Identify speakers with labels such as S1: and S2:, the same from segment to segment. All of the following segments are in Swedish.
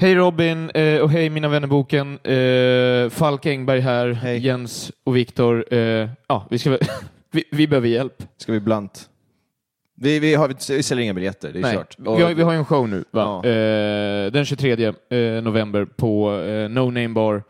S1: Hej Robin eh, och hej mina vänner boken. Eh, Falk Engberg här,
S2: Hej.
S1: Jens och Viktor. Eh, ja, vi, ska väl- vi, vi behöver hjälp.
S2: Ska vi blunt? Vi, vi, har, vi säljer inga biljetter, det är
S1: Nej.
S2: kört.
S1: Vi, har, vi har ju en show nu, va?
S2: Ja.
S1: Eh, den 23 eh, november på eh, No Name Bar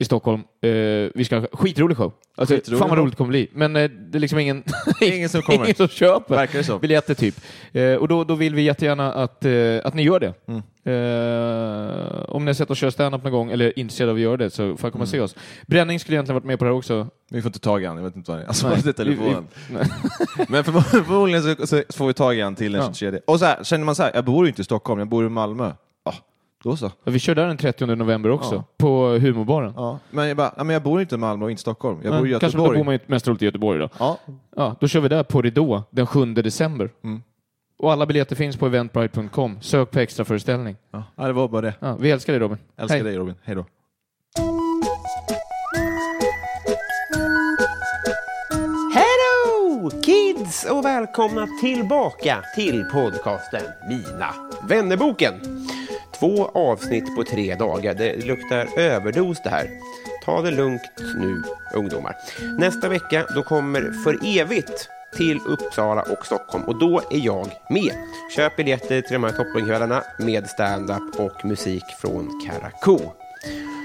S1: i Stockholm. Eh, vi ska ha skitrolig show. Alltså,
S2: Skitrolig
S1: fan vad
S2: show.
S1: roligt det kommer bli. Men eh, det är liksom ingen,
S2: Ingen som kommer.
S1: ingen som köper
S2: Verkar det som.
S1: biljetter typ. Eh, och då, då vill vi jättegärna att, eh, att ni gör det.
S2: Mm.
S1: Eh, om ni har sett oss köra stand-up någon gång eller är intresserade av att göra det så får komma och
S2: Mm.
S1: se oss. Bränning skulle egentligen varit med på det här också.
S2: Vi får inte tag i han, jag vet inte vad han är. Alltså, det är
S1: vi- vi-
S2: telefonen. Men förmo- förmodligen så, så får vi tag i han till den
S1: Ja.
S2: 23. Och så här, känner man så här, jag bor ju inte i Stockholm, jag bor i Malmö. Ja, då så.
S1: Ja, Vi kör där den 30 november också
S2: Ja.
S1: på humorbaren.
S2: Ja. Men jag bara, ja, men jag bor inte i Malmö och inte i Stockholm, jag bor i
S1: Kanske då
S2: Göteborg.
S1: bor man ju mest troligt i Göteborg då.
S2: Ja,
S1: Ja, då kör vi där på Ridå den 7 december.
S2: Mm.
S1: Och alla biljetter finns på eventbrite.com. Sök på extra föreställning.
S2: ja. ja, det var bara det.
S1: Ja, vi älskar dig Robin.
S2: Älskar
S1: Hej.
S2: dig Robin, hej då.
S3: Hello kids och välkomna tillbaka till podcasten Mina vännerboken. Två avsnitt på tre dagar. Det luktar överdos det här. Ta det lugnt nu ungdomar. Nästa vecka då kommer för evigt till Uppsala och Stockholm och då är jag med. Köp biljetter till de här toppenkvällarna med stand-up och musik från Karakou.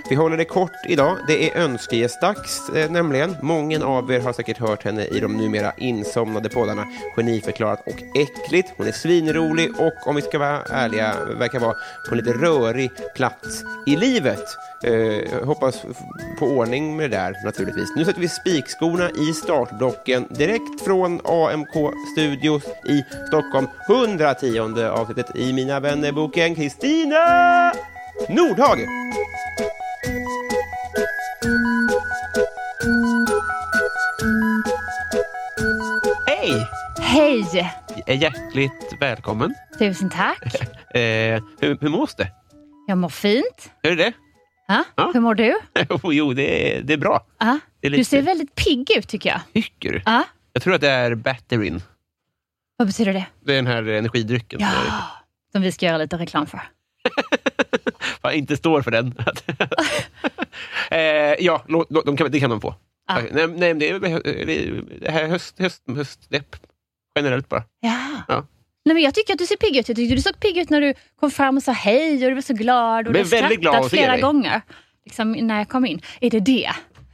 S3: Vi håller det kort idag. Det är önskegästdags eh, nämligen. Många av er har säkert hört henne i de numera insomnade poddarna Geniförklarat och Äckligt. Hon är svinrolig och om vi ska vara ärliga verkar vara på en lite rörig plats i livet. Eh, hoppas f- på ordning med det där naturligtvis. Nu sätter vi spikskorna i startblocken direkt från AMK Studios i Stockholm. 110 avsnittet i Mina vännerboken Kristina Nordhage. Hej!
S4: Hej!
S3: Hjärtligt välkommen.
S4: Tusen tack.
S3: Eh, hur, hur mås det?
S4: Jag mår fint.
S3: Hur är det?
S4: Ja,
S3: Ja.
S4: Hur mår du?
S3: jo, det är, det är bra.
S4: Ja,
S3: Det är
S4: Du
S3: lite-
S4: ser väldigt pigg ut tycker jag.
S3: Tycker du?
S4: Ja,
S3: Jag tror att det är Batterin.
S4: Vad betyder det?
S3: Det är den här energidrycken. som jag-
S4: Ja, som vi ska göra lite reklam för.
S3: Fan, inte står för den. eh, ja, låt, låt, de kan, det kan de få.
S4: Ja.
S3: Nej, nej, men det är väl- det här är höst, höst, höstdepp. Generellt bara.
S4: Ja.
S3: Ja.
S4: Nej, men jag tycker att du ser pigg ut. Jag tyckte du såg pigg ut när du kom fram och sa hej och du var så glad. Och
S3: Men
S4: du har
S3: väldigt glad
S4: skrattat
S3: att se
S4: flera
S3: dig.
S4: gånger liksom, när jag kom in. Är det det?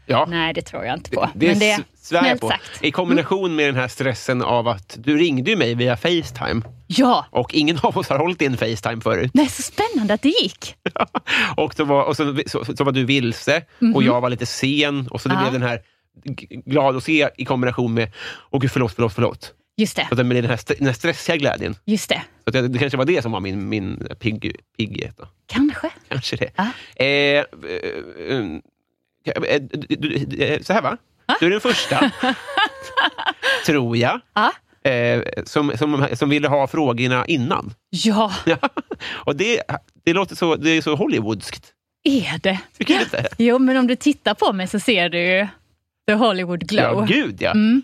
S3: Ja.
S4: Nej, det tror jag inte på.
S3: Det, det,
S4: men det
S3: s- svär jag
S4: snällt
S3: på.
S4: sagt.
S3: I kombination med den här stressen av att du ringde ju mig via Facetime
S4: Ja.
S3: och ingen av oss har hållit i en Facetime förut.
S4: Nej, så spännande att det gick.
S3: och så var, och så, så, så var du vilse och jag var lite sen och så det
S4: Mhm. Ja.
S3: blev den här g- glad att se i kombination med åh gud förlåt, förlåt, förlåt. Så
S4: Just det.
S3: att det blev den här, st- den här stressiga glädjen.
S4: Just det.
S3: Så att det, det kanske var det som var min, min pigg, pigghet. Då.
S4: Kanske.
S3: Kanske det.
S4: Ja.
S3: Eh, eh, eh, eh, du- du- du- eh, så här va? Du är den första, tror jag,
S4: Ja.
S3: eh, som, som, som ville ha frågorna innan.
S4: Ja,
S3: och det, det låter så, det är så Hollywoodskt.
S4: är det.
S3: Tycker du inte?
S4: Jo, men om du tittar på mig så ser du ju the Hollywood glow.
S3: Ja, gud ja.
S4: Mm.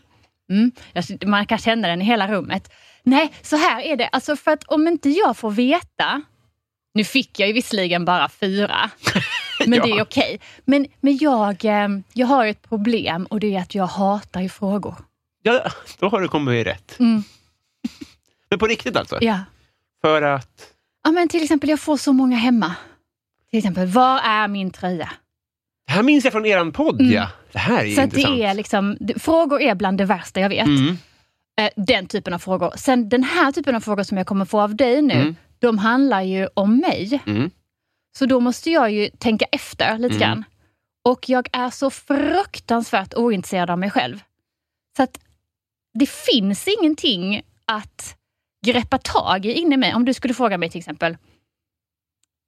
S4: Jag- Man kan känna den i hela rummet. Nej, så här är det. Alltså för att om inte jag får veta... Nu fick jag ju visserligen bara fyra, men det är okej. Men, men jag, eh, jag har ju ett problem och det är att jag hatar ju frågor.
S3: Ja, då har du kommit rätt.
S4: Mm.
S3: Men på riktigt alltså?
S4: Ja.
S3: För att...
S4: Ja, men till exempel, jag får så många hemma. Till exempel, var är min tröja?
S3: Det här minns jag från eran podd,
S4: Mm.
S3: ja. Det här är ju
S4: Så att
S3: intressant.
S4: det är liksom, det- frågor är bland det värsta jag vet.
S3: Mm.
S4: Eh, Den typen av frågor. Sen den här typen av frågor som jag kommer få av dig nu,
S3: Mm.
S4: de handlar ju om mig.
S3: Mm.
S4: Så då måste jag ju tänka efter lite
S3: Mm.
S4: grann. Och jag är så fruktansvärt ointresserad av mig själv. Så att det finns ingenting att greppa tag i inne i mig. Om du skulle fråga mig till exempel,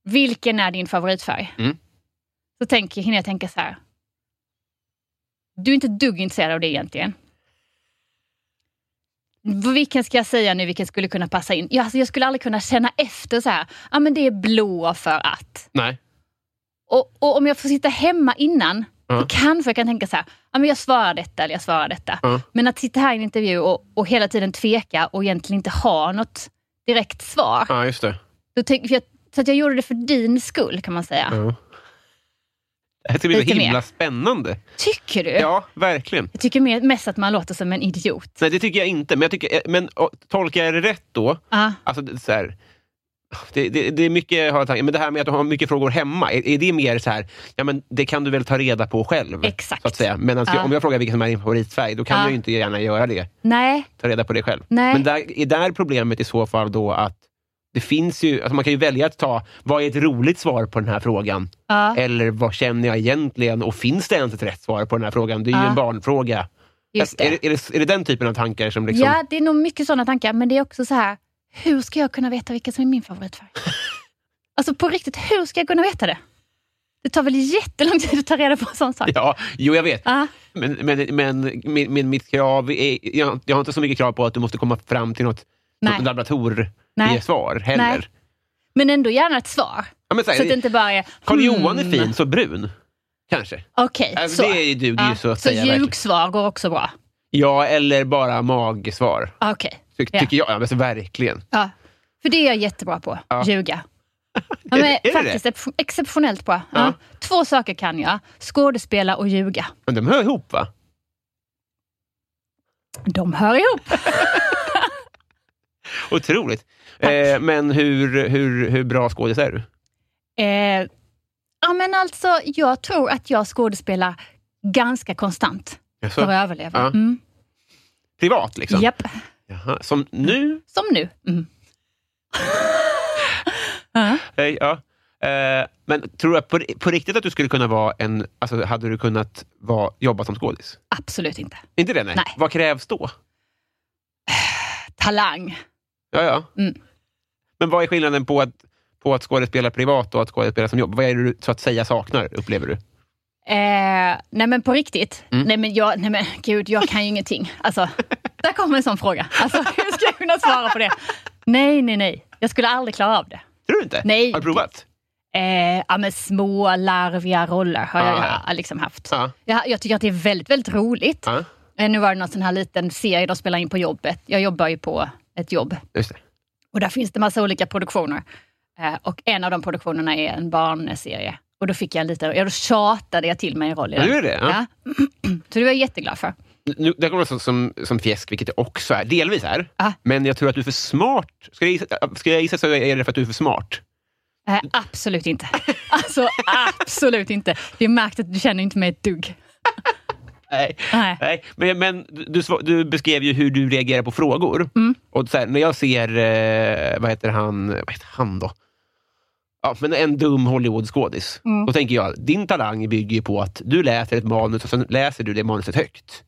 S4: vilken är din favoritfärg?
S3: Mm.
S4: Så tänker, hinner jag tänka så här. Du är inte ett dugg intresserad av det egentligen. Vilken ska jag säga nu, vilken skulle kunna passa in? Jag, alltså, jag skulle aldrig kunna känna efter så här, ja ah, men det är blå för att.
S3: Nej.
S4: Och, och om jag får sitta hemma innan,
S3: Ja.
S4: så kanske jag kan tänka så här, ja, men jag svarar detta eller jag svarar detta.
S3: Ja.
S4: Men att sitta här i en intervju och, och hela tiden tveka och egentligen inte ha något direkt svar.
S3: Ja, just det.
S4: Då tänk, för jag, så att jag gjorde det för din skull kan man säga.
S3: Ja. Det här ska bli så
S4: Lite
S3: himla
S4: mer.
S3: spännande.
S4: Tycker du?
S3: Ja, verkligen.
S4: Jag tycker mer- mest att man låter som en idiot.
S3: Nej, det tycker jag inte. Men, jag tycker, eh, men och, tolkar jag det rätt då?
S4: Ja.
S3: Alltså, det, så här, det, det, det är mycket jag har tanken, men det här med att du har mycket frågor hemma, är, är det mer så här, ja men det kan du väl ta reda på själv?
S4: Exakt.
S3: Så att säga. Men alltså,
S4: Ja.
S3: om jag frågar vilken som är din favoritfärg, då kan
S4: Ja.
S3: jag ju inte gärna göra det.
S4: Nej,
S3: Ta reda på det själv.
S4: Nej.
S3: Men där, är där problemet i så fall då att det finns ju, alltså man kan ju välja att ta, vad är ett roligt svar på den här frågan?
S4: ja,
S3: Eller vad känner jag egentligen? Och finns det ens ett rätt svar på den här frågan? Det är ju
S4: Ja.
S3: en barnfråga.
S4: just
S3: Är,
S4: det.
S3: det, är, det, är det den typen av tankar som liksom...
S4: Ja, det är nog mycket sådana tankar, men det är också så här, hur ska jag kunna veta vilken som är min favoritfärg? alltså på riktigt, hur ska jag kunna veta det? Det tar väl jättelång tid att ta reda på en sån sak?
S3: Ja, jo jag vet.
S4: Ja.
S3: Men, men, men, men, men mitt krav är, jag, jag har inte så mycket krav på att du måste komma fram till något,
S4: Nej.
S3: något
S4: Nej.
S3: laborator-svar heller.
S4: Nej. Men ändå gärna ett svar.
S3: Ja, men så här,
S4: Så att det inte bara är...
S3: Karl Johan är
S4: hmm,
S3: fin, så brun. Kanske.
S4: Okej,
S3: Alltså,
S4: så.
S3: det är ju- duger ju
S4: Ja,
S3: så att
S4: så
S3: säga. verkligen.
S4: ljugsvar går också bra?
S3: Ja, eller bara magsvar.
S4: Okej.
S3: Ty,
S4: Ja.
S3: Tycker jag. Ja, men så verkligen.
S4: Ja. För det är jag jättebra på, ljuga. Ja,
S3: Är-
S4: men
S3: är det
S4: faktiskt ex- exceptionellt bra. Ja.
S3: Ja.
S4: Två saker kan jag, skådespela och ljuga.
S3: Men de hör ihop va?
S4: De hör ihop.
S3: Otroligt. Eh, men hur, hur, hur bra skådis är du?
S4: Eh, ja, men alltså, jag tror att jag skådespelar ganska konstant
S3: Jaså?
S4: för att överleva.
S3: Ja.
S4: Mm.
S3: Privat liksom?
S4: Japp,
S3: Jaha. Som nu?
S4: som nu. Mm.
S3: Eh, ja. Eh, men tror du på, på riktigt att du skulle kunna vara en... Alltså, hade du kunnat vara, jobba som skådis?
S4: Absolut inte.
S3: Inte det? Nej.
S4: Nej.
S3: Vad krävs då?
S4: Talang.
S3: Ja, ja.
S4: Mm.
S3: Men vad är skillnaden på att, på att skådespela privat och att skådespela som jobb? Vad är det du så att säga saknar, upplever du?
S4: Eh, nej men på riktigt.
S3: Mm.
S4: Nej, men jag, nej men gud, jag kan ju ingenting. Alltså, där kommer en sån fråga. Alltså, hur ska jag kunna svara på det? Nej, nej, nej. Jag skulle aldrig klara av det.
S3: Tror du inte?
S4: Nej.
S3: Har du provat?
S4: Eh, ja, men små larviga roller har jag,
S3: Ah,
S4: jag liksom haft.
S3: Ja.
S4: Jag, jag tycker att det är väldigt, väldigt roligt.
S3: ja.
S4: Eh, Nu var det någon sån här liten serie de spelar in på jobbet. Jag jobbar ju på ett jobb
S3: Just det.
S4: och där finns det massa olika produktioner. Eh, Och en av de produktionerna är en barnserie. Och då fick jag en liten, ja, då tjatade jag till mig en roll i
S3: Ja,
S4: den.
S3: du är det? Ja.
S4: Så det var jag jätteglad för.
S3: Nu, det här kommer låta som, som fjäsk, vilket det också är. Delvis är.
S4: Ja.
S3: Men jag tror att du är för smart. Ska jag, gissa, ska jag gissa så är det för att du är för smart.
S4: Eh, absolut inte. Alltså absolut inte. Det är märkt att du känner inte mig ett dugg.
S3: Nej.
S4: Nej.
S3: Nej. Men, men du, sva- du beskrev ju hur du reagerar på frågor.
S4: Mm.
S3: Och så här, när jag ser, eh, vad heter han, vad heter han då? Ja, men en dum Hollywoodskådis.
S4: Mm.
S3: Då tänker jag, din talang bygger ju på att du läser ett manus och sen läser du det manuset högt.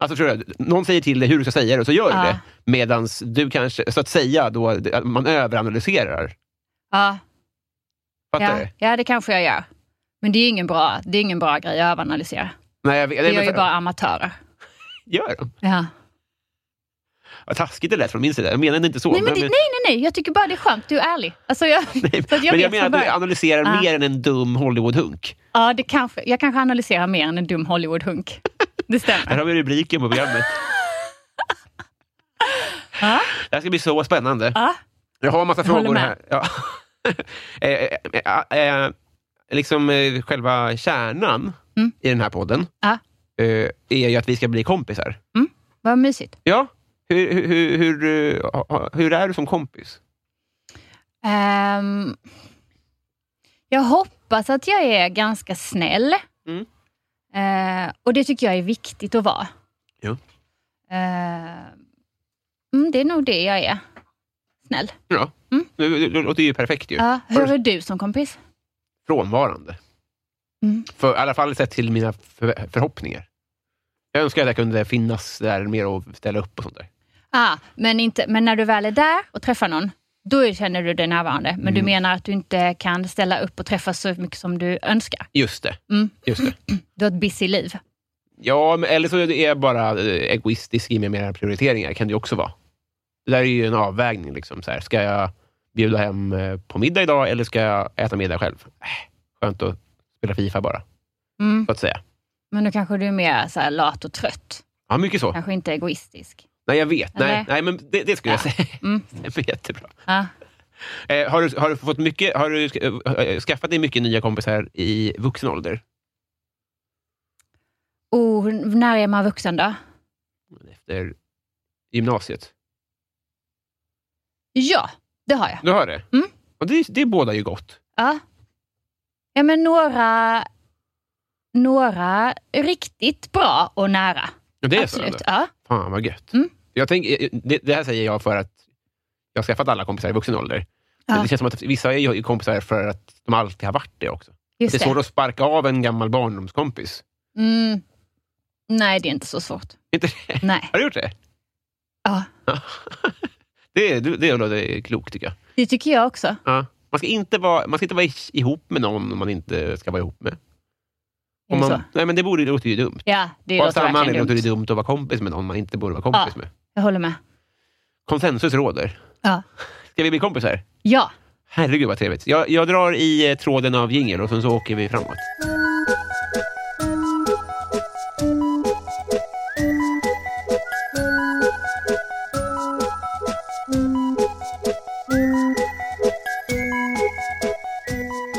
S3: Alltså tror jag, någon säger till dig hur du ska säga det och så gör du
S4: Ja.
S3: det. Medan du kanske, så att säga, då, att man överanalyserar.
S4: Ja,
S3: Fattar
S4: ja,
S3: du?
S4: ja, det kanske jag gör. Men det är ju ingen bra, det är ingen bra grej att överanalysera.
S3: Nej, jag vet,
S4: Det
S3: nej, men
S4: gör ju
S3: så-
S4: bara amatörer.
S3: Gör de?
S4: Ja.
S3: Vad taskigt det lät från min sida. Jag menade inte så.
S4: Nej, men det, nej, nej, nej. Jag tycker bara det är skönt. Du är ärlig. Alltså, jag, så Ah. att jag
S3: men
S4: vet
S3: jag menar
S4: från
S3: att du
S4: början.
S3: analyserar
S4: Ja.
S3: mer än en dum Hollywoodhunk.
S4: Ja, det kanske, jag kanske analyserar mer än en dum Hollywood-hunk. Det
S3: Där
S4: stämmer.
S3: har vi rubriken på programmet.
S4: Ja.
S3: Det här ska bli så spännande.
S4: Ja.
S3: Jag har en massa
S4: Ah. Jag håller
S3: frågor
S4: med.
S3: här. Ja. Eh, eh, eh, eh, liksom eh, själva kärnan
S4: Mm. Ah.
S3: i den här podden
S4: Ja.
S3: eh, är ju att vi ska bli kompisar.
S4: Vad mysigt.
S3: Ja. Hur, hur, hur, hur, eh, ha- ha- hur är du som kompis?
S4: Ehm, jag hoppas att jag är ganska snäll.
S3: Mm.
S4: Eh, och det tycker jag är viktigt att vara.
S3: Ja.
S4: Ehm, mm, det är nog det jag är. Snäll.
S3: Ja.
S4: Mm.
S3: Du, du, du låter ju perfekt ju.
S4: Ja,
S3: Har
S4: hur
S3: du-
S4: är du som kompis?
S3: Frånvarande.
S4: Mm.
S3: För, I alla fall sett till mina för, förhoppningar. Jag önskar att jag kunde finnas där mer och ställa upp och sånt där.
S4: Ah, men, inte, men när du väl är där och träffar någon, då känner du dig närvarande. Men
S3: Mm.
S4: du menar att du inte kan ställa upp och träffa så mycket som du önskar.
S3: Just det.
S4: Mm.
S3: Just det.
S4: Du har ett busy liv.
S3: Ja, men, eller så är jag bara eh, egoistisk i med mina prioriteringar. kan det ju också vara. Det där är ju en avvägning. Liksom, så här. Ska jag bjuda hem eh, på middag idag eller ska jag äta middag själv? Äh, skönt att spela Fifa bara,
S4: Mm.
S3: så att säga.
S4: Men då kanske du är mer så här lat och trött.
S3: Ja, mycket så.
S4: Kanske inte egoistisk.
S3: Nej, jag vet. Nej,
S4: Eller?
S3: nej men det, det skulle jag säga.
S4: Mm.
S3: Det är jättebra.
S4: Ja.
S3: Eh, har, du, har du fått mycket... Har du sk- eh, skaffat dig mycket nya kompisar i vuxen ålder?
S4: Och hur- när är man vuxen då?
S3: Efter gymnasiet?
S4: Ja, det har jag.
S3: Du har det?
S4: Mm.
S3: Och det, det är båda ju gott.
S4: Ja, ja men några, några riktigt bra och nära.
S3: Och Det är så?
S4: Absolut.
S3: eller?
S4: Ja.
S3: Fan vad gött.
S4: Mm.
S3: Jag tänk, eh, det, det här säger jag för att jag har skaffat alla kompisar i vuxen ålder. Men
S4: Ja.
S3: Det känns som att vissa är ju kompisar för att de alltid har varit det också.
S4: Just
S3: det är
S4: det.
S3: svårt att sparka av en gammal barndomskompis.
S4: Mm. Nej, det är inte så svårt.
S3: Inte det?
S4: Nej.
S3: Har du gjort det?
S4: Ja.
S3: Det, det, det låter klokt tycker jag.
S4: Det tycker jag också.
S3: Ja. Man, ska inte vara, man ska inte vara i- ihop med någon man inte ska vara ihop med.
S4: Är det
S3: man,
S4: så?
S3: nej, men det borde, det låter ju dumt.
S4: Ja, det
S3: Och av
S4: låter
S3: samma anledning
S4: verkligen
S3: låter
S4: dumt.
S3: det dumt att vara kompis med någon man inte borde vara kompis med.
S4: Jag håller med.
S3: Konsensus råder.
S4: Ja.
S3: Ska vi bli kompisar?
S4: Ja.
S3: Herregud vad trevligt. Jag, jag drar i eh, tråden av jingeln och sen så åker vi framåt.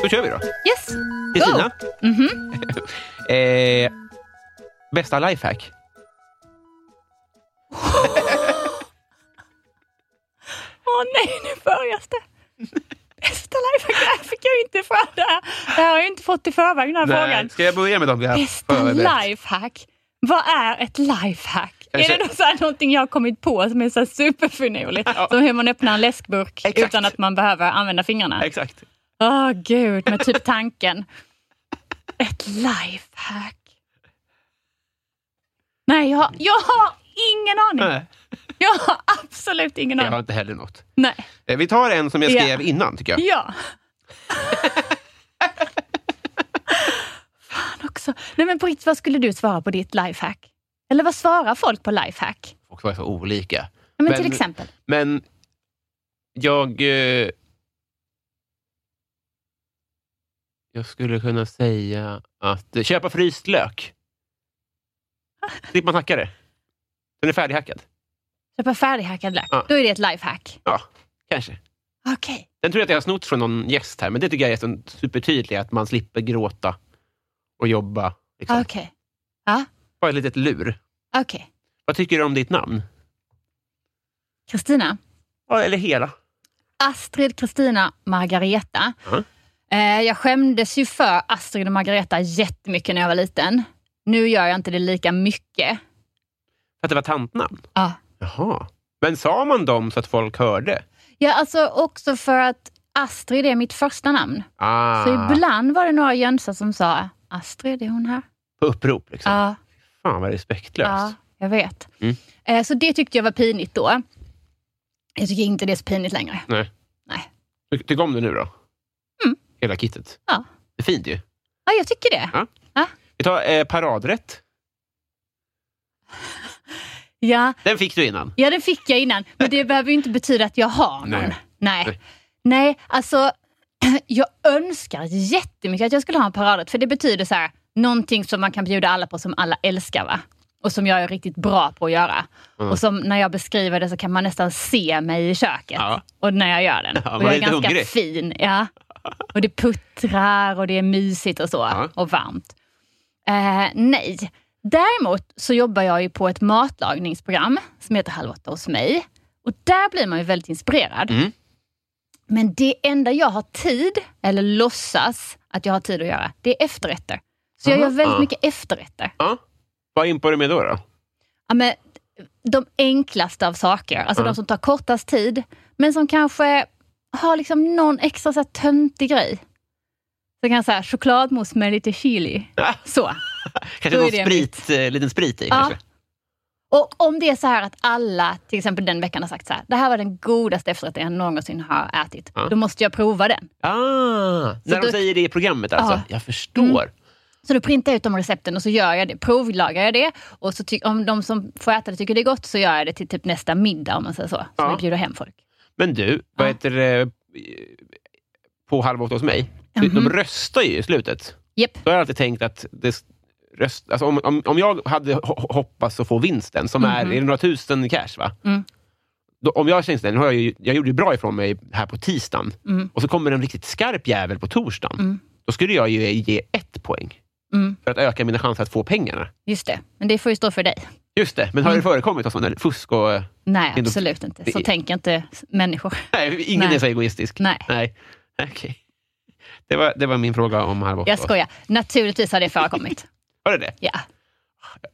S3: Då kör vi då.
S4: Yes.
S3: Kristina?
S4: Mhm.
S3: Eh, bästa lifehack?
S4: Åh nej, nu börjar det. Bästa lifehack, det här fick jag ju inte fram. Det här, det här har jag ju inte fått i förväg, den här frågan.
S3: Ska jag börja med dem vi har
S4: Bästa
S3: förberett?
S4: lifehack? Vad är ett lifehack?
S3: Kanske-
S4: Är det då så här någonting jag har kommit på som är så här superfinurligt? Som hur man öppnar en läskburk
S3: Exakt.
S4: utan att man behöver använda fingrarna?
S3: Exakt.
S4: Åh gud, med typ tanken. Ett lifehack. Nej, jag har, jag har ingen aning.
S3: Nej,
S4: Jag har absolut ingen
S3: jag har
S4: aning.
S3: inte heller något.
S4: Nej.
S3: Eh, Vi tar en som jag
S4: Ja.
S3: skrev innan, tycker jag.
S4: Ja. Fan också. Nej men på riktigt, vad skulle du svara på ditt lifehack? Eller vad svarar folk på lifehack?
S3: Folk var så olika.
S4: Ja, men
S3: Men-
S4: till exempel.
S3: Men jag... eh, Jag skulle kunna säga att eh, köpa fryst lök. Slipper man hacka det. Den är färdighackad.
S4: Köpa färdighackad lök.
S3: Ja.
S4: Då är det ett lifehack.
S3: Ja, kanske.
S4: Okej.
S3: Den tror jag att jag har snott från någon gäst här, men det tycker jag är så supertydligt att man slipper gråta och jobba. Liksom.
S4: Okej.
S3: Bara ett litet lur.
S4: Okej.
S3: Vad tycker du om ditt namn?
S4: Kristina.
S3: Ja, eller hela.
S4: Astrid, Kristina, Margareta.
S3: Ja.
S4: Eh, jag skämdes ju för Astrid och Margareta jättemycket när jag var liten. Nu gör jag inte det lika mycket.
S3: För att det var tantnamn?
S4: Ja.
S3: Jaha. Men sa man dem så att folk hörde?
S4: Ja, alltså också för att Astrid är mitt första namn.
S3: Ah, Typ.
S4: Så ibland var det några jönsar som sa Astrid, är hon här?
S3: på upprop liksom.
S4: Ja,
S3: Fan vad respektlöst.
S4: ja, jag vet.
S3: Mm.
S4: Eh, Så det tyckte jag var pinigt då. Jag tycker inte det är så pinigt längre.
S3: Nej.
S4: Nej.
S3: Ty- Tycker om det nu då?
S4: Mm.
S3: Hela kittet?
S4: Ja.
S3: Det är fint ju.
S4: Ja, jag tycker det.
S3: Ja. Vi tar eh, paradrätt.
S4: Ja,
S3: Den fick du innan.
S4: ja, det fick jag innan. Men det behöver ju inte betyda att jag har någon.
S3: Nej.
S4: Nej.
S3: Nej.
S4: Nej, Nej alltså jag önskar jättemycket att jag skulle ha en paradrätt. För det betyder så här, någonting som man kan bjuda alla på som alla älskar. Va? och som jag är riktigt bra på att göra.
S3: Mm.
S4: Och som när jag beskriver det så kan man nästan se mig i köket.
S3: Ja.
S4: Och när jag gör den.
S3: Ja, man
S4: och jag
S3: är
S4: är
S3: lite
S4: ganska
S3: hungrig.
S4: fin. Ja. Och det puttrar och det är mysigt och så.
S3: Ja.
S4: Och varmt. Eh, nej. Däremot så jobbar jag ju på ett matlagningsprogram som heter Halv åtta hos mig. Och där blir man ju väldigt inspirerad.
S3: Mm.
S4: Men det enda jag har tid, eller låtsas att jag har tid att göra, det är efterrätter. Så jag
S3: Aha.
S4: gör väldigt
S3: Ah.
S4: mycket efterrätter.
S3: Ja. Vad impar du med då? då?
S4: Ja, men, de enklaste av saker, alltså
S3: Ja.
S4: de som tar kortast tid, men som kanske har liksom någon extra så här, töntig grej. Så kan jag säga chokladmousse med lite chili.
S3: Ja.
S4: Så. Då
S3: Kanske
S4: är
S3: någon
S4: det en
S3: sprit, eh, liten sprit i?
S4: Ja.
S3: Kanske.
S4: Och om det är så här att alla, till exempel den veckan, har sagt så här, det här var den godaste efterrätten jag någonsin har ätit.
S3: Ja.
S4: Då måste jag prova den.
S3: Ah, när
S4: då-
S3: de säger det i programmet alltså?
S4: Ja. Mm.
S3: Jag förstår.
S4: Så då printar jag ut de recepten och så gör jag det, provlagar jag det. Och så ty- om de som får äta det tycker det är gott så gör jag det till typ nästa middag om man säger så. Som
S3: Ja.
S4: jag bjuder hem folk.
S3: Men du, vad
S4: Ja.
S3: heter det? På Halv åtta hos mig, de-
S4: Mhm.
S3: de röstar ju i slutet.
S4: Japp.
S3: Då har jag alltid tänkt att det, röst, alltså om, om, om jag hade ho- hoppats att få vinsten, som är, är det några tusen cash, va?
S4: Mhm. Mm.
S3: Då, om jag känns den, har jag, ju, jag gjorde ju bra ifrån mig här på tisdagen
S4: Mm.
S3: och så kommer en riktigt skarp jävel på torsdagen.
S4: Mm.
S3: Då skulle jag ju ge ett poäng
S4: Mm,
S3: för att öka mina chanser att få pengarna.
S4: just det, men det får ju stå för dig.
S3: Just det,
S4: Mm.
S3: men har det förekommit något sånt? eller Fusk och...
S4: Nej,
S3: Men då-
S4: absolut inte.
S3: det
S4: Så
S3: är-
S4: tänker inte s- människor.
S3: Nej, ingen
S4: Nej.
S3: är så egoistisk.
S4: Nej.
S3: Nej. Okej. Det, var, det var min fråga om halv åtta.
S4: Jag skojar. Naturligtvis har det förekommit.
S3: Var det det?
S4: Ja.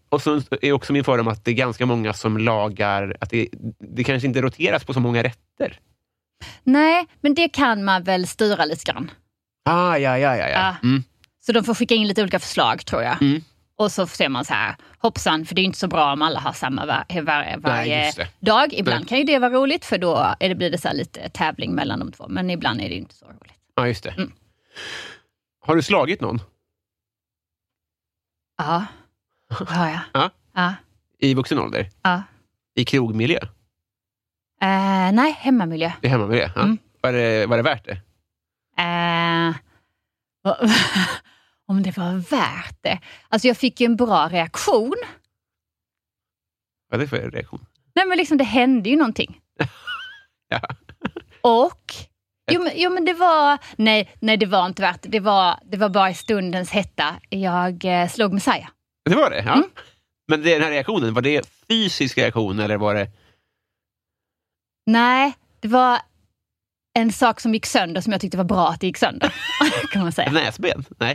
S3: Och så är också min fördom att det är ganska många som lagar... Att det, det kanske inte roteras på så många rätter.
S4: Nej, men det kan man väl styra lite grann.
S3: Ah, ja, ja, ja. ja.
S4: Ah.
S3: Mm.
S4: Så de får skicka in lite olika förslag tror jag.
S3: Mm.
S4: Och så ser man så här, hoppsan, för det är ju inte så bra om alla har samma var- var- varje
S3: just det.
S4: dag. Ibland
S3: Nej.
S4: kan ju det vara roligt för då är det, blir det så här lite tävling mellan de två, men ibland är det ju inte så roligt.
S3: Ah, just det.
S4: Mm.
S3: Har du slagit någon
S4: Ja, har jag.
S3: Ja.
S4: ja.
S3: i vuxen ålder?
S4: ja.
S3: I krogmiljö?
S4: Eh, nej, hemmamiljö.
S3: I hemmamiljö? Ja.
S4: Mm.
S3: Var, det, var det värt det?
S4: Eh, vad- om det var värt det? Alltså jag fick ju en bra reaktion.
S3: Vad är det för reaktion?
S4: Nej men liksom det hände ju någonting.
S3: Ja.
S4: Och? Jo men, jo men det var, nej, nej det var inte värt det. det. Var, det var bara i stundens hetta jag eh, slog Messiah.
S3: Det var det? Ja.
S4: Mm.
S3: Men det, den här reaktionen, var det fysisk reaktion eller var det...
S4: Nej, det var en sak som gick sönder som jag tyckte var bra att det gick sönder. kan man säga.
S3: Näsben? Nej.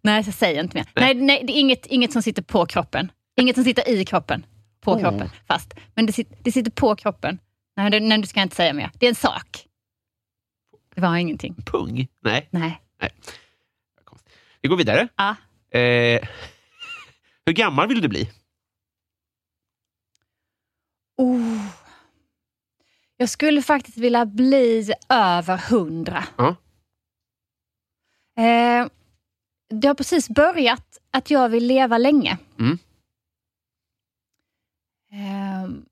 S4: Nej, så säg inte mer. Nej, nej det är inget, inget som sitter på kroppen. Inget som sitter i kroppen. På kroppen, fast. Men det, sit, det sitter på kroppen. Nej, det, nej, du ska inte säga mer. Det är en sak. Det var ingenting.
S3: Pung? Nej.
S4: Nej.
S3: Vi går vidare.
S4: Ja.
S3: Eh, hur gammal vill du bli?
S4: Oh. Jag skulle faktiskt vilja bli över hundra.
S3: Ja.
S4: Eh, det har precis börjat att jag vill leva länge.
S3: Mm.
S4: Ehm,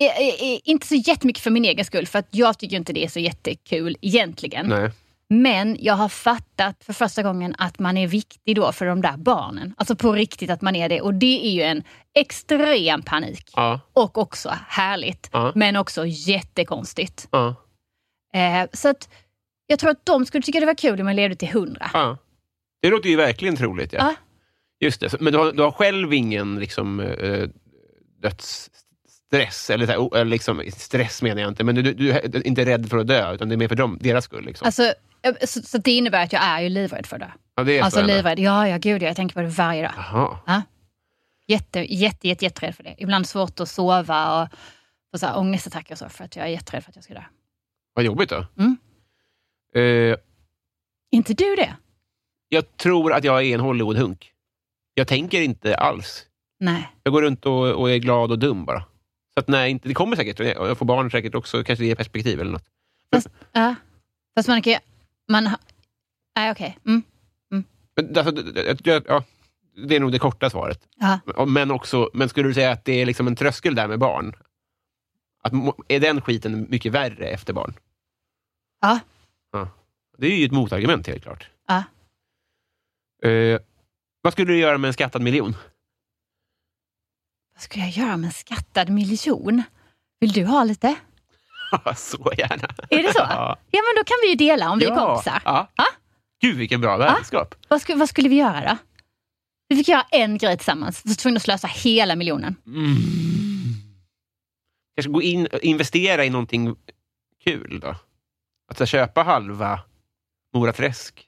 S4: eh, eh, eh, inte så jättemycket för min egen skull, för att jag tycker inte det är så jättekul egentligen.
S3: Nej.
S4: Men jag har fattat för första gången att man är viktig då för de där barnen. Alltså på riktigt att man är det. Och det är ju en extrem panik.
S3: Ja.
S4: Och också härligt,
S3: Ja.
S4: men också jättekonstigt.
S3: Ja.
S4: Eh, så att jag tror att de skulle tycka det var kul om jag levde till hundra.
S3: ja. Det låter ju verkligen troligt. Ja.
S4: Ja.
S3: Just det. Så- Men du har, du har själv ingen liksom, eh, dödsstress? Eller, så här, o- eller liksom, stress menar jag inte, men du, du, du är inte rädd för att dö, utan det är mer för dem, deras skull. Liksom.
S4: Alltså, eh, så, så det innebär att jag är ju livrädd för det.
S3: ja, det är så
S4: Alltså
S3: ändå.
S4: livrädd, ja, ja gud ja, jag tänker på det varje dag.
S3: Jaha.
S4: Jätte, jätte, jätte, jätterädd för det. Ibland svårt att sova och få så här ångestattacker och så för att jag är jätterädd för att jag ska dö.
S3: Vad jobbigt då.
S4: Mm.
S3: Eh,
S4: inte du det?
S3: jag tror att jag är en Hollywood-hunk. Jag tänker inte alls.
S4: Nej.
S3: Jag går runt och, och är glad och dum bara. Så att nej, inte, det kommer säkert. och Jag får barn säkert också. Kanske det ger perspektiv eller något.
S4: Ja. Fast man kan ju... Man har, nej, okej. Mm.
S3: Men, alltså, det- det- jag, ja, det är nog det korta svaret.
S4: Ja.
S3: Men, också, men skulle du säga att det är liksom en tröskel där med barn? Att, må- är den skiten mycket värre efter barn?
S4: Ja.
S3: ja. Det är ju ett motargument helt klart.
S4: Ja.
S3: Eh, vad skulle du göra med en skattad miljon?
S4: Vad ska jag göra med en skattad miljon? Vill du ha lite?
S3: Ja, så gärna.
S4: Är det så?
S3: Ja.
S4: Ja, men då kan vi ju dela om vi är kompisar.
S3: Ja.
S4: Ja.
S3: Gud, vilken bra vänskap.
S4: Vad, sku, vad skulle vi göra då? Vi fick göra en grej tillsammans. Vi var tvungna att slösa hela miljonen.
S3: Mm. Kanske gå in och investera i någonting kul då. Att så här, köpa halva Mora Träsk.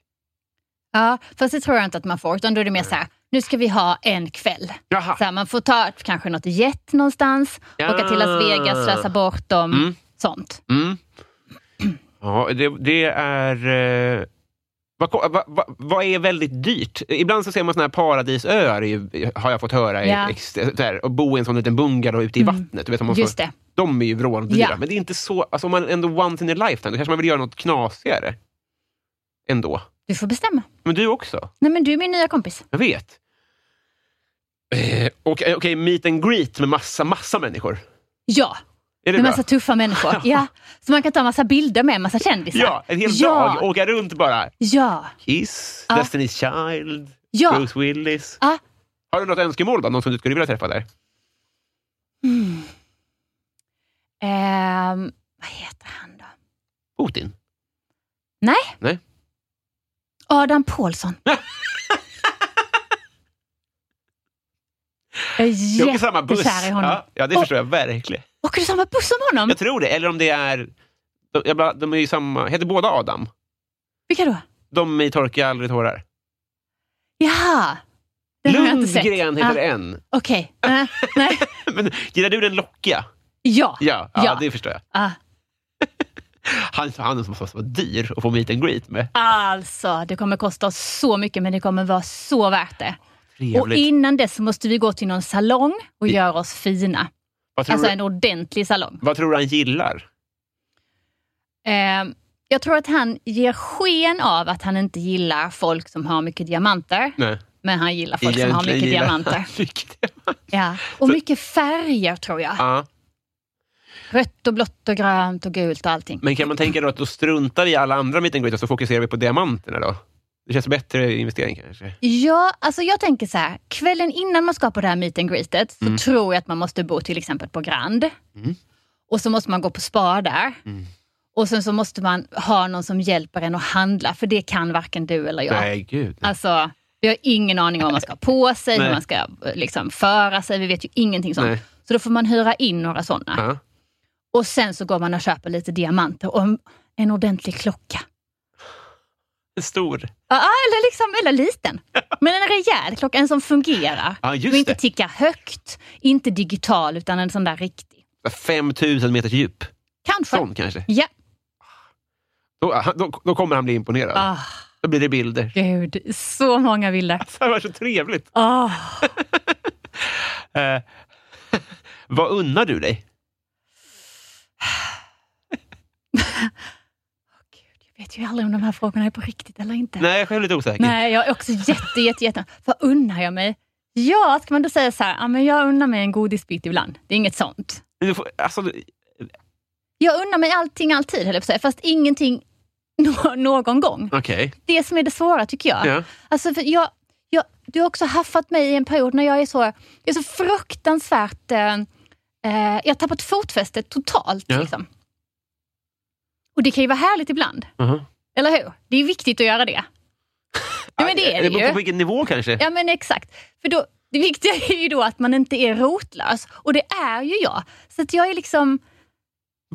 S4: Ja, fast det tror jag inte att man får. Utan då är det mer så här, nu ska vi ha en kväll.
S3: Jaha.
S4: Så här, man får ta kanske något jet någonstans,
S3: Ja.
S4: åka till Las Vegas, slösa bort dem.
S3: Mm.
S4: Sånt.
S3: Mm. Ja, det, det är... eh, Vad, ko- vad, vad, vad är väldigt dyrt? Ibland så ser man såna här paradisöar, är ju- har jag fått höra,
S4: Ja.
S3: i, ex, där, och bo i en sån liten bungalow ute i
S4: Mm.
S3: vattnet. Du vet, om man
S4: Just
S3: får,
S4: det.
S3: de är ju vråldyra,
S4: Ja.
S3: men det är inte så... Alltså, om man ändå once in a lifetime, då kanske man vill göra något knasigare ändå.
S4: Du får bestämma.
S3: Men du också?
S4: Nej, men du är min nya kompis.
S3: Jag vet. Eh, och- Okej, meet and greet med massa, massa människor.
S4: Ja,
S3: Är det
S4: med
S3: bra?
S4: massa tuffa människor. ja. Så man kan ta massa bilder med massa kändisar.
S3: Ja, en hel
S4: ja.
S3: dag. Åka runt bara.
S4: Ja,
S3: Kiss,
S4: Ja.
S3: Destiny's Child,
S4: ja.
S3: Bruce Willis.
S4: Ja.
S3: Har du något önskemål? Då? Någon som du skulle vilja träffa där?
S4: Mm. Ehm, vad heter han då?
S3: Putin?
S4: Adam Pålsson. jag
S3: Vi
S4: är
S3: åker samma buss.
S4: jättekär i honom.
S3: Ja, ja, det
S4: Och-
S3: förstår jag verkligen.
S4: Åker du samma buss som honom?
S3: Jag tror det. Eller om det är... De, jag bara- de är ju samma... Heter båda Adam?
S4: Vilka då?
S3: De i Torka aldrig tårar.
S4: Jaha. Den har jag inte sett.
S3: Lundgren heter
S4: ah,
S3: en.
S4: Okej. Eh, nej.
S3: Men gillar du den lockiga?
S4: Ja.
S3: Ja, ja,
S4: Ja.
S3: det förstår jag.
S4: Ah,
S3: Han, han som måste vara dyr att få meet and greet med.
S4: alltså, det kommer kosta oss så mycket men det kommer vara så värt det. Och
S3: Trevligt.
S4: innan dess så måste vi gå till någon salong och
S3: I-
S4: göra oss fina.
S3: vad, tror
S4: Alltså
S3: du,
S4: en ordentlig salong.
S3: vad tror du han gillar?
S4: Eh, jag tror att han ger sken av att han inte gillar folk som har mycket diamanter.
S3: Nej.
S4: Men han gillar folk som har
S3: Egentligen
S4: mycket
S3: gillar han
S4: diamanter.
S3: mycket diamanter.
S4: Ja. Och
S3: Så-
S4: mycket färger tror jag.
S3: Ja.
S4: Rött och blått och grönt och gult och allting.
S3: Men kan man tänka då att då struntar vi i alla andra meet and greet och så fokuserar vi på diamanterna då? Det känns bättre investering kanske.
S4: Ja, alltså jag tänker så här. Kvällen innan man ska på det här meet and greetet
S3: Mm.
S4: så tror jag att man måste bo till exempel på Grand. Och så måste man gå på spa där.
S3: Mm.
S4: Och sen så måste man ha någon som hjälper en att handla, för det kan varken du eller jag.
S3: Nej, gud.
S4: Alltså, vi har ingen aning om vad man ska ha på sig,
S3: Nej.
S4: hur man ska eh, liksom, föra sig. Vi vet ju ingenting sånt.
S3: Nej.
S4: Så då får man hyra in några sådana.
S3: Ja.
S4: Och sen så går man och köper lite diamanter och en, en ordentlig klocka.
S3: En stor.
S4: Ja, ja, eller, liksom, eller liten. Men en rejäl klocka, en som fungerar.
S3: Ja, just
S4: och inte
S3: det.
S4: tickar högt, inte digital, utan en sån där riktig.
S3: 5000 meters djup.
S4: Kanske.
S3: Sån kanske.
S4: Ja.
S3: Då, då, då kommer han bli imponerad.
S4: Ah,
S3: Då blir det bilder.
S4: gud, så många bilder.
S3: Alltså, det var så trevligt.
S4: Ah.
S3: Eh, vad unnar du dig?
S4: Gud, jag vet ju aldrig om de här frågorna är på riktigt eller inte.
S3: Nej, jag är själv lite osäker.
S4: Nej, jag är också jätte, jätte, jätte... Vad unnar jag mig? Ja, ska man då säga så här, ja, men jag unnar mig en godisbit ibland. Det är inget sånt.
S3: Men Du får, alltså,
S4: Jag unnar mig allting alltid, höll jag på att säga, fast ingenting nå- någon gång.
S3: Okej.
S4: Det som är det svåra tycker jag.
S3: Ja.
S4: Alltså, för jag, jag du har också haffat mig i en period när jag är så, jag är så fruktansvärt... Eh, eh, jag har tappat fotfästet totalt.
S3: Ja.
S4: Liksom. Och det kan ju vara härligt ibland,
S3: Mhm.
S4: eller hur? Det är viktigt att göra det. Ja, men det är det
S3: beror
S4: ju.
S3: på vilken nivå kanske.
S4: Ja men exakt. För då, det viktiga är ju då att man inte är rotlös. Och det är ju jag. Så att jag är liksom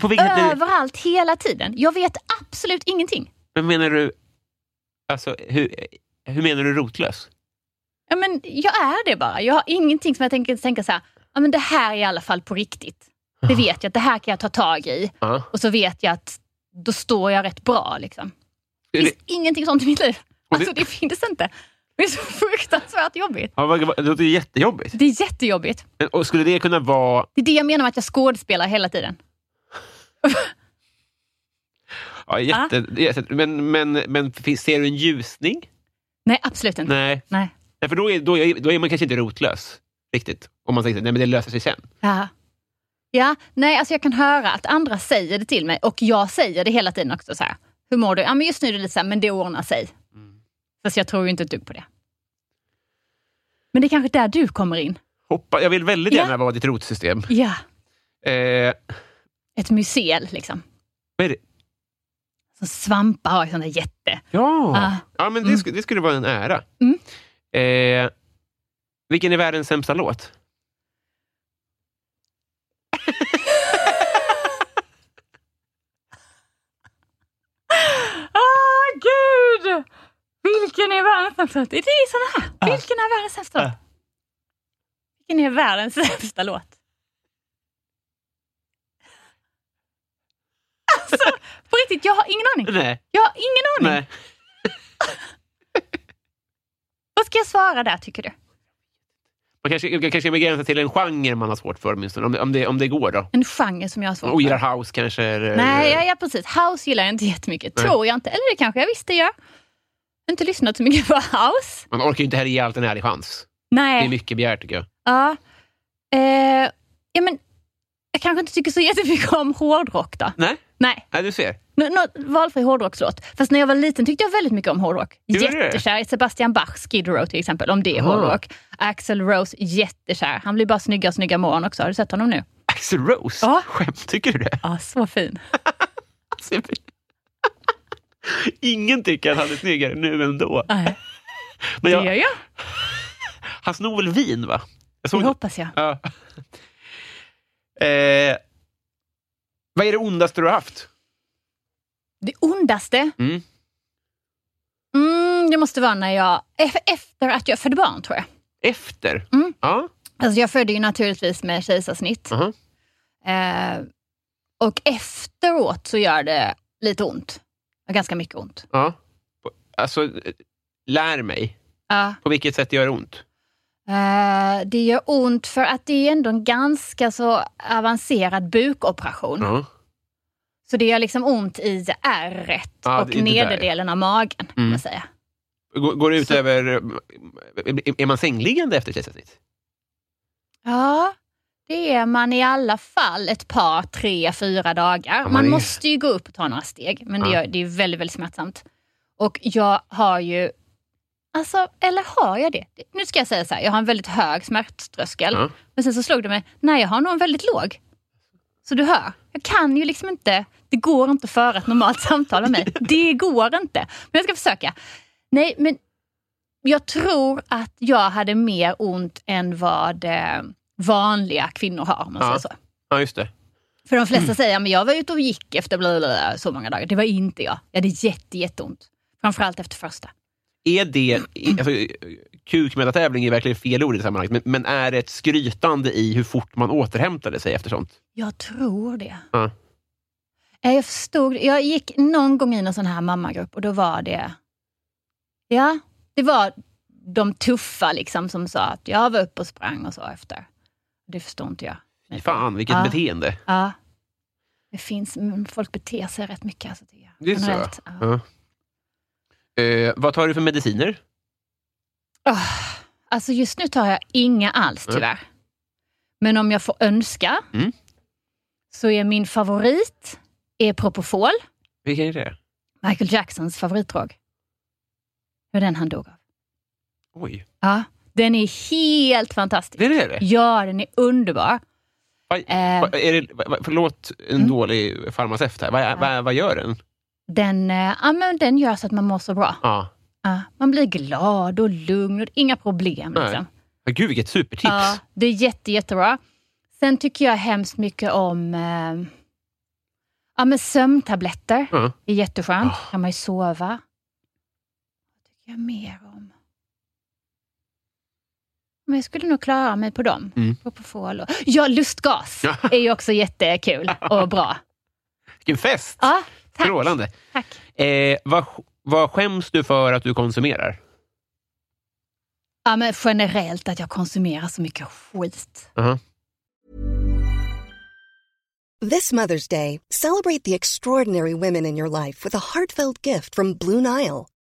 S3: På vilken,
S4: överallt hela tiden. Jag vet absolut ingenting.
S3: Men menar du... Alltså, hur, hur menar du rotlös?
S4: Ja, men jag är det bara. Jag har ingenting som jag tänker tänka så här, ja, men det här är i alla fall på riktigt. Det vet jag, att det här kan jag ta tag i.
S3: Ja.
S4: Och så vet jag att då står jag rätt bra. Liksom. Det
S3: Är
S4: finns
S3: det-
S4: ingenting sånt i mitt liv.
S3: det-
S4: Alltså det finns inte. Det är så fruktansvärt jobbigt.
S3: Ja, vad- vad- Det låter ju jättejobbigt.
S4: Det är jättejobbigt.
S3: Men- Och skulle det kunna vara...
S4: Det är det jag menar med att jag skådespelar hela tiden.
S3: Ja, jätte, jätte- Men, men, men finns- ser du en ljusning?
S4: Nej, absolut inte.
S3: Nej.
S4: Nej.
S3: Nej, för då är, då, är, då är man kanske inte rotlös riktigt. Om man tänker nej men det löser sig sen.
S4: Ja. ja, nej alltså jag kan höra att andra säger det till mig och jag säger det hela tiden också. Så här. Hur mår du? Ja, men just nu är det lite så här, men det ordnar sig. Fast jag tror ju inte ett dugg på det. Men det är kanske där du kommer in.
S3: Hoppa, jag vill väldigt
S4: Ja.
S3: gärna vara ditt rotsystem.
S4: Ja,
S3: Eh,
S4: ett museum liksom.
S3: vad är det?
S4: Så svampar har ju sån där jätte...
S3: Ja,
S4: Ah.
S3: ja men det,
S4: Mm.
S3: skulle, det skulle vara en ära.
S4: Mm.
S3: Eh, vilken är världens sämsta låt?
S4: Ah, gud! Vilken är världens sämsta låt? Det är sån här.
S3: Ah.
S4: Vilken är världens sämsta låt? Vilken är världens sämsta låt? Alltså, på riktigt, jag har ingen aning.
S3: Nej.
S4: Jag har ingen aning.
S3: Nej.
S4: Vad ska jag svara där, tycker du?
S3: Man kanske, man kanske begränsar till en genre man har svårt för åtminstone, om det, om det, om det går. då.
S4: En genre som jag har svårt
S3: Man ogillar house kanske? Eller,
S4: Nej, ja, ja, precis. House gillar jag inte jättemycket.
S3: Nej.
S4: Tror jag inte. Eller det kanske jag visst det gör. Jag har inte lyssnat så mycket på house.
S3: Man orkar ju inte heller ge allt en ärlig chans. Det är
S4: Nej.
S3: mycket begärt tycker jag.
S4: Ja. Eh, ja, men jag kanske inte tycker så jättemycket om hårdrock då.
S3: Nej,
S4: Nej,
S3: Nej du ser.
S4: nå nå- valfri hårdrockslåt. Fast när jag var liten tyckte jag väldigt mycket om hårdrock.
S3: Gjorde du det?
S4: Jättekär i Sebastian Bach, Skid Row till exempel, om det är
S3: Ah.
S4: hårdrock. Axel Rose, jättekär. Han blir bara snyggare och snyggare med åren också. Har du sett honom nu?
S3: Axel Rose?
S4: Ja.
S3: Skämt, tycker du det?
S4: Ja, så fin.
S3: Alltså, jag- Ingen tycker att han är snyggare nu än då.
S4: Nej,
S3: Men
S4: det gör
S3: jag,
S4: jag.
S3: han snor väl vin, va? Jag
S4: Det
S3: såg
S4: hoppas jag.
S3: Ja. Eh, vad är det ondaste du har haft?
S4: Det ondaste?
S3: Mm.
S4: Mm, det måste vara när jag... e- Efter att jag födde barn, tror jag.
S3: Efter?
S4: Mm.
S3: Ja.
S4: Alltså jag födde ju naturligtvis med kejsarsnitt.
S3: Aha.
S4: Eh, och efteråt så gör det lite ont. Ja, Ganska mycket ont.
S3: ja. Alltså, eh, lär mig.
S4: Ja.
S3: På vilket sätt gör det ont?
S4: Eh, det gör ont för att det är ändå en ganska så avancerad bukoperation.
S3: Ja.
S4: Så det gör liksom ont i ärret
S3: Ja,
S4: och
S3: det är det där.
S4: nederdelen av magen. Kan
S3: Mm.
S4: man säga.
S3: Går, går det ut
S4: Så-
S3: över... eh, Är man sängliggande efter kejsarsnitt?
S4: Ja, det är man i alla fall ett par, tre, fyra dagar.
S3: man
S4: man
S3: är-
S4: måste ju gå upp och ta några steg, men det,
S3: Ja.
S4: gör, det är väldigt, väldigt smärtsamt. Och jag har ju, alltså, eller har jag det? Nu ska jag säga så här, jag har en väldigt hög smärttröskel,
S3: Ja.
S4: men sen så slog det mig, nej jag har nog en väldigt låg. Så du hör, jag kan ju liksom inte, det går inte att föra ett normalt samtal med mig. Det går inte. Men jag ska försöka. Nej, men jag tror att jag hade mer ont än vad eh, vanliga kvinnor har, om man
S3: Ja.
S4: säger så.
S3: Ja, just det.
S4: För de flesta säger att jag var ute och gick efter bla bla bla, så många dagar. Det var inte jag. Jag hade jätte, jätteont. Framförallt efter första.
S3: Är det... Alltså, kukmätartävling är verkligen fel ord i sammanhanget, men, men är det ett skrytande i hur fort man återhämtade sig efter sånt?
S4: Jag tror det.
S3: Ja.
S4: Eh, Jag förstod. Jag gick någon gång i någon sån här mammagrupp och då var det... Ja, det var de tuffa liksom som sa att jag var uppe och sprang och så efter. Det förstod inte jag.
S3: Fy Fan, vilket
S4: Ja.
S3: beteende.
S4: Ja. Det finns, mm, folk beter sig rätt mycket. Alltså, tycker jag.
S3: Det är så,
S4: Generellt, ja.
S3: Ja. Eh, vad tar du för mediciner?
S4: Åh, alltså just nu tar jag inga alls
S3: Nej.
S4: tyvärr. Men om jag får önska
S3: Mm.
S4: så är min favorit är Propofol,
S3: Vilken är det?
S4: Michael Jacksons favoritdrog. Det var den han dog av.
S3: Oj,
S4: Ja, den är helt fantastisk.
S3: det är det? det?
S4: Ja, den är underbar.
S3: Vad-
S4: Eh,
S3: Vad är det vad- vad- förlåt en
S4: Mm.
S3: dålig farmaceut här. Vad, vad, vad gör den?
S4: den, eh, ja, men den gör så att man mår så bra.
S3: Ja.
S4: Ja, man blir glad och lugn och inga problem.
S3: Nej.
S4: Liksom.
S3: Men Gud, vilket supertips!
S4: Ja, det är jätte, jättebra. Sen tycker jag hemskt mycket om eh, ja, men sömntabletter.
S3: Ja.
S4: Det är jätteskönt.
S3: Ah.
S4: kan man ju sova. Vad tycker jag mer om? Men jag skulle nog klara mig på dem.
S3: Mm.
S4: Propofol och... Ja, lustgas
S3: Ja.
S4: är ju också jättekul och bra.
S3: Vilken fest!
S4: Ja, tack.
S3: Strålande!
S4: tack.
S3: Eh, vad, vad skäms du för att du konsumerar?
S4: Ja, men generellt att jag konsumerar så mycket skit.
S3: Aha.
S5: This Mother's Day, celebrate the extraordinary women in your life with a heartfelt gift from Blue Nile.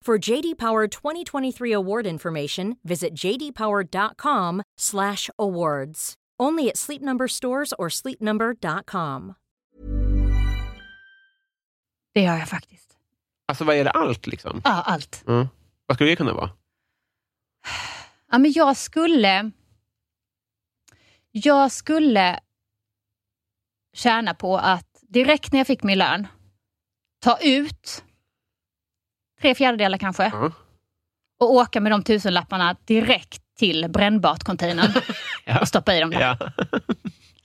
S6: For JD Power 2023 award information, visit jdpower.com/awards. Only at Sleep Number stores or sleepnumber.com.
S4: Det gör jag faktiskt.
S3: Alltså vad gäller allt liksom.
S4: Ja, allt.
S3: Mm. Vad skulle det kunna vara?
S4: Ja, men jag skulle... Jag skulle tjäna på att direkt när jag fick min lön ta ut tre fjärdedelar kanske
S3: Ja.
S4: och åka med de tusenlapparna direkt till brännbart-containern
S3: Ja.
S4: och stoppa i dem där.
S3: Ja.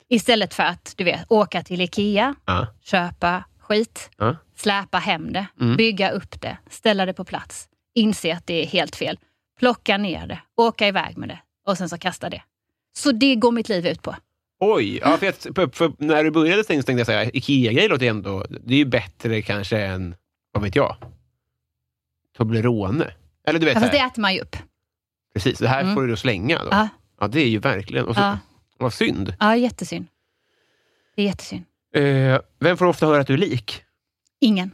S4: Istället för att du vet, åka till Ikea,
S3: Ja.
S4: köpa skit,
S3: Ja.
S4: släpa hem det,
S3: Mm.
S4: bygga upp det, ställa det på plats, inse att det är helt fel, plocka ner det, åka iväg med det och sen så kasta det. Så det går mitt liv ut på.
S3: Oj! Ja, för, att- för, för när du började tänkte jag säga Ikea-grejer låter ju ändå... Det är ju bättre kanske än, vad vet jag, Toblerone. Eller du vet,
S4: Ja, fast
S3: så
S4: det
S3: här,
S4: äter man ju upp.
S3: precis, det här
S4: Mm.
S3: får du då slänga. Då.
S4: Ja,
S3: Ja, det är ju verkligen... Och så,
S4: ja,
S3: Vad synd.
S4: ja, jättesynd. Det är jättesynd.
S3: Eh, vem får ofta höra att du är lik?
S4: Ingen.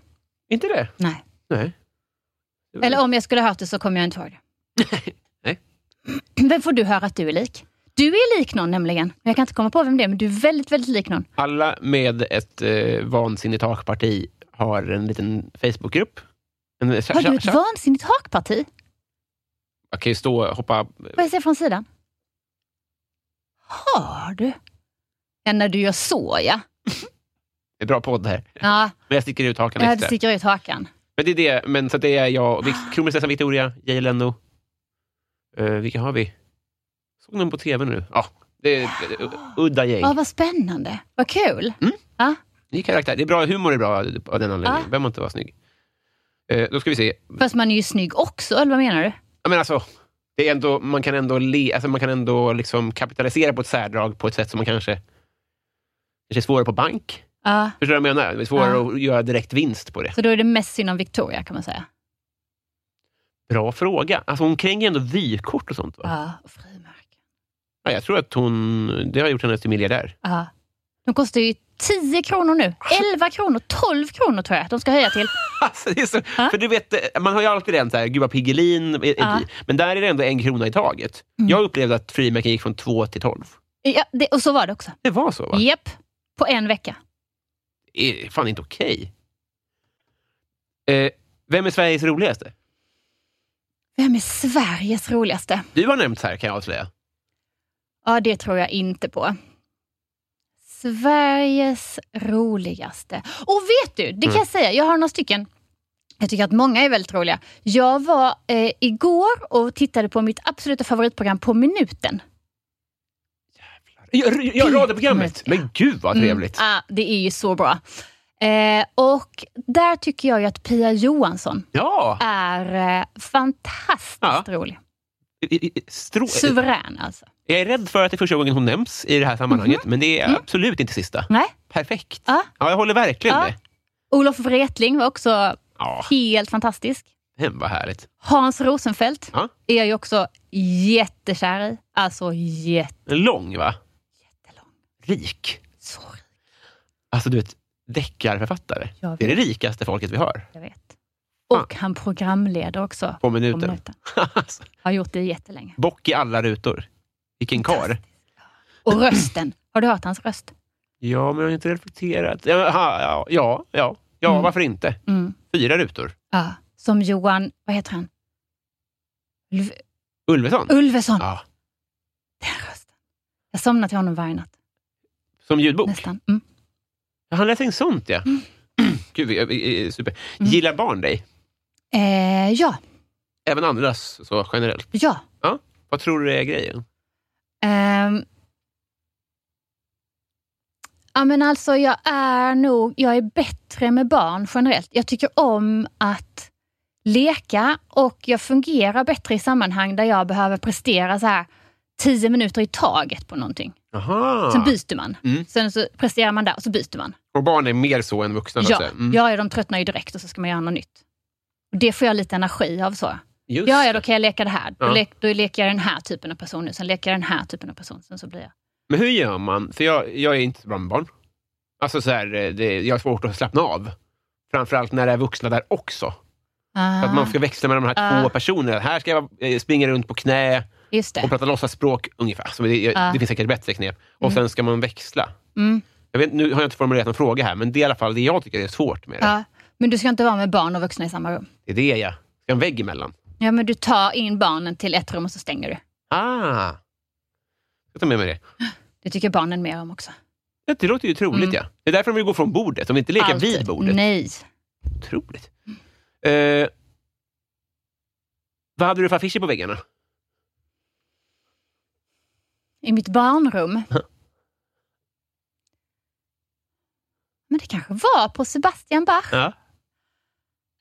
S3: Inte det?
S4: Nej.
S3: Nej. Det var-
S4: Eller om jag skulle ha hört det så kommer jag inte ihåg det.
S3: Mm. Nej.
S4: Vem får du höra att du är lik? Du är lik någon nämligen. Men Jag kan inte komma på vem det är, men du är väldigt, väldigt lik någon.
S3: Alla med ett eh, vansinnigt takparti har en liten Facebookgrupp. En, eh, cha-
S4: Har du
S3: cha-
S4: ett
S3: cha-
S4: vansinnigt hakparti?
S3: Jag kan ju stå och hoppa...
S4: Får jag se från sidan? Har du? Ja, när du gör så ja.
S3: Det är bra eh, podd här.
S4: Ja,
S3: Men jag sticker ut hakan
S4: jag
S3: lite.
S4: sticker ut hakan.
S3: Men det är det. Men så det är jag, Vic- kronprinsessan Victoria, Jay Leno. Eh, vilka har vi? Såg någon på tv nu? Ja, det är uh, udda gäng.
S4: Ja, vad spännande. Vad kul.
S3: Ny karaktär. Det är bra, humor är bra av den anledningen.
S4: Ja.
S3: Vem har inte varit snygg? Eh, då ska vi se.
S4: Fast man är ju snygg också, eller vad menar du?
S3: Ja, men alltså, det är ändå, man kan ändå, le, alltså, man kan ändå liksom kapitalisera på ett särdrag på ett sätt som man kanske... Kanske är svårare på bank.
S4: Ja,
S3: Förstår du vad jag menar? Det är svårare
S4: Ja.
S3: att göra direkt vinst på det.
S4: så då är det mest synd om Victoria kan man säga.
S3: Bra fråga. Alltså, hon kränger ju ändå vykort och sånt. Va?
S4: Ja, och frimärken.
S3: Ja, jag tror att hon, det har gjort henne till miljardär.
S4: Ja. De kostar ju 10 kronor nu. 11 kronor, 12 kronor tror jag de ska höja till.
S3: Alltså, det är så,
S4: Ja.
S3: för du vet, eh, man har ju alltid den så här, gud vad Piggelin är, är
S4: Ja.
S3: dyr. Men där är det ändå en krona i taget.
S4: Mm.
S3: Jag upplevde att frimärken gick från två till tolv.
S4: Ja, det, och så var det också.
S3: Det var så va?
S4: Japp, på en vecka.
S3: Det är fan inte okej. Eh, vem är Sveriges roligaste?
S4: Vem är Sveriges roligaste?
S3: Du har nämnt här kan jag avslöja.
S4: Ja, det tror jag inte på. Sveriges roligaste. Och vet du, det kan
S3: Mm.
S4: jag säga, jag har några stycken. Jag tycker att många är väldigt roliga. Jag var eh, igår och tittade på mitt absoluta favoritprogram På minuten.
S3: Ja, r- ja, radioprogrammet!
S4: Ja.
S3: Men gud vad trevligt.
S4: Mm, ah, det är ju så bra. Eh, och där tycker jag ju att Pia Johansson
S3: Ja!
S4: är eh, fantastiskt
S3: Ja.
S4: rolig.
S3: I- i- i- Strå-
S4: Suverän alltså.
S3: jag är rädd för att det är första gången hon nämns i det här sammanhanget,
S4: Mm-hmm.
S3: men det är
S4: Mm.
S3: absolut inte sista.
S4: Nej.
S3: Perfekt.
S4: Ja.
S3: Ja, jag håller verkligen
S4: Ja.
S3: med.
S4: Olof Wretling var också
S3: Ja,
S4: helt fantastisk.
S3: men vad härligt.
S4: Hans Rosenfeldt
S3: Ja.
S4: är jag ju också jättekär i. Alltså jättelång.
S3: Lång, va? Rik.
S4: Så
S3: Alltså, du vet, deckarförfattare.
S4: Jag
S3: Det är det
S4: vet.
S3: rikaste folket vi har.
S4: jag vet. Och han programleder också.
S3: På
S4: På
S3: minuten.
S4: minuten.
S3: Alltså,
S4: Har gjort det jättelänge.
S3: Bock i alla rutor. Vilken kar.
S4: Och rösten. Har du hört hans röst?
S3: Ja, men jag har inte reflekterat. Ja, ha, ja, ja, ja, ja
S4: Mm.
S3: varför inte?
S4: Mm.
S3: Fyra rutor.
S4: Ja. Som Johan, vad heter han? Ulv-
S3: Ulveson?
S4: Ulveson.
S3: Ja,
S4: Den rösten. Jag somnar till honom varje natt.
S3: som ljudbok.
S4: Nästan. Mm.
S3: Ja, Han läser in sånt, ja. Gud, vi- vi- vi- super.
S4: Mm.
S3: Gillar barn dig?
S4: Eh, ja,
S3: Även andras, så generellt.
S4: ja.
S3: Ja. Vad tror du är grejen?
S4: Ehm. ja, men alltså jag är nog, jag är bättre med barn generellt. Jag tycker om att leka och jag fungerar bättre i sammanhang där jag behöver prestera så här tio minuter i taget på någonting.
S3: Aha.
S4: Sen byter man.
S3: Mm.
S4: Sen så presterar man där och så byter man.
S3: Och barn är mer så än vuxna? så att
S4: Ja,
S3: säga. Mm.
S4: ja, de tröttnar ju direkt och så ska man göra något nytt. Och det får jag lite energi av. så.
S3: Just
S4: Ja, ja,
S3: det.
S4: då kan jag leka det här. Då,
S3: Ja.
S4: lek, då leker jag den här typen av person nu, sen leker jag den här typen av person. Sen så blir jag...
S3: Men hur gör man? För jag, jag är inte så bra med barn. Alltså så här, eh, det, jag har svårt att slappna av. Framförallt när det är vuxna där också.
S4: Ah,
S3: För att man ska växla mellan de här
S4: Ah.
S3: två personerna. Här ska jag eh, springa runt på knä
S4: Just det.
S3: och prata låtsaspråk ungefär. Så det, jag-
S4: Ah.
S3: det finns säkert bättre knep. Och sen ska man växla.
S4: Mm.
S3: Jag vet, nu har jag inte formulerat någon fråga här, men det är i alla fall det jag tycker är svårt med det.
S4: Ja. Men du ska inte vara med barn och vuxna i samma rum.
S3: Det är det jag... Ska en vägg emellan?
S4: Ja, men du tar in barnen till ett rum och så stänger du.
S3: Ah! Jag tar med mig det.
S4: Det tycker barnen mer om också.
S3: Ja, Det låter ju troligt,
S4: Mm.
S3: ja. Det är därför de vill gå från bordet. De vill inte leka vid bordet.
S4: Nej.
S3: Otroligt. Eh, vad hade du för affischer på väggarna?
S4: I mitt barnrum. men det kanske var på Sebastian Bach.
S3: Ja.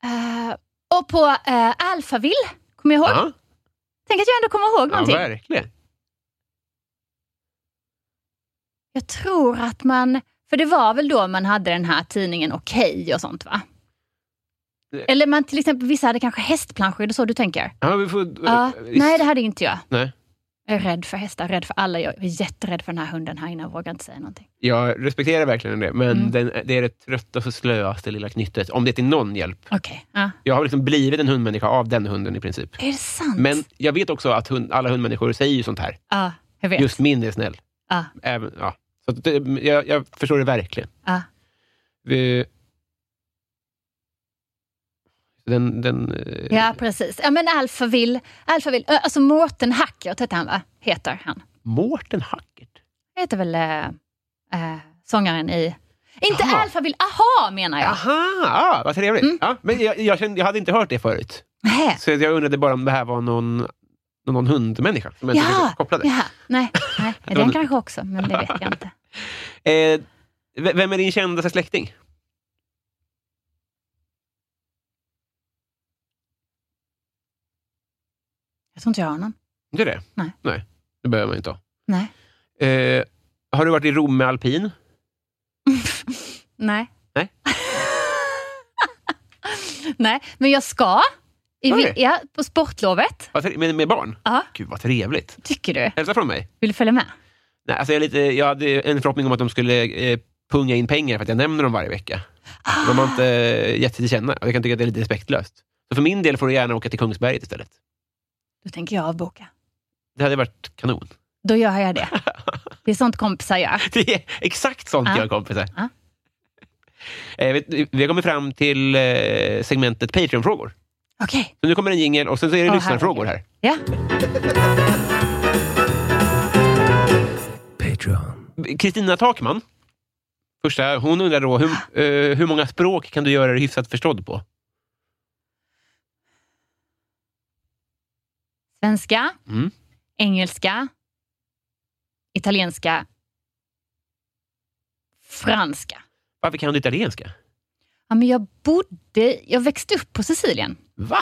S4: Eh, och på uh, Alphaville, kommer jag ihåg.
S3: Ja,
S4: Tänk att jag ändå kommer ihåg
S3: ja
S4: någonting.
S3: verkligen.
S4: jag tror att man... För det var väl då man hade den här tidningen Okej och sånt, va?
S3: Det-
S4: Eller man till exempel, vissa hade kanske hästplanscher, det är så du tänker?
S3: Ja, vi får,
S4: Ja.
S3: eh,
S4: nej, det hade inte jag.
S3: nej.
S4: Jag är rädd för hästar, rädd för alla. Jag är jätterädd för den här hunden här inne, jag vågar inte säga någonting.
S3: Jag respekterar verkligen det, men
S4: Mm.
S3: den, det är det tröttaste, slöaste lilla knyttet. Om det är till någon hjälp.
S4: Okej. Ja.
S3: Jag har liksom blivit en hundmänniska av den hunden i princip.
S4: Är det sant?
S3: Men jag vet också att hund, alla hundmänniskor säger ju sånt här.
S4: Ja, jag vet.
S3: Just min är snäll.
S4: Ja.
S3: Även, ja. Så att det, jag, jag förstår det verkligen.
S4: Ja.
S3: Vi, den, den, eh,
S4: Ja, precis. Ja, men Alphaville, Alphaville. Ö, Alltså Mårten Hackert heter han, va? Heter han.
S3: Mårten Hackert?
S4: Heter väl äh, äh, sångaren i... Inte
S3: Jaha.
S4: Alphaville, aha menar jag.
S3: Aha, ah, vad trevligt.
S4: Mm.
S3: Ja, men jag, jag, kände, jag hade inte hört det förut.
S4: Nähä.
S3: Så jag undrade bara om det här var någon, någon hundmänniska som jag inte
S4: Ja,
S3: riktigt kopplade.
S4: ja, nej, nej.
S3: var
S4: Den
S3: nu.
S4: kanske också, men det vet jag inte.
S3: Eh, v- vem är din kändaste släkting?
S4: Jag tror inte jag har någon.
S3: Det är det?
S4: Nej.
S3: Nej, det behöver man inte ha.
S4: Nej.
S3: Eh, har du varit i Rom med alpin?
S4: Nej.
S3: Nej.
S4: nej, men jag ska. I,
S3: Okej.
S4: ja, på sportlovet.
S3: Vad tre- Med, med barn?
S4: Ja.
S3: Gud, vad trevligt.
S4: Tycker du?
S3: Hälsa från mig.
S4: Vill du följa med?
S3: Nej, alltså jag, är lite, jag hade en förhoppning om att de skulle eh, punga in pengar för att jag nämner dem varje vecka. Men De har inte eh, gett sig till känna och jag kan tycka att det är lite respektlöst. Så för min del får du gärna åka till Kungsberget istället.
S4: Då tänker jag avboka.
S3: Det hade varit kanon.
S4: Då gör jag det. Det är sånt kompisar gör.
S3: Det är exakt sånt
S4: Ja.
S3: jag kompisar.
S4: Ja.
S3: Eh, vet, ni, vi har kommit fram till eh, segmentet Patreon-frågor.
S4: Okej.
S3: Så nu kommer en jingel och sen så är det
S4: Åh,
S3: lyssnarfrågor här.
S4: Ja.
S3: Kristina Takman, första, hon undrar då, hur,
S4: Ah.
S3: eh, hur många språk kan du göra dig hyfsat förstådd på?
S4: Svenska,
S3: Mm.
S4: engelska, italienska, franska.
S3: Varför kan du italienska?
S4: Ja, men jag bodde, jag växte upp på Sicilien.
S3: Va?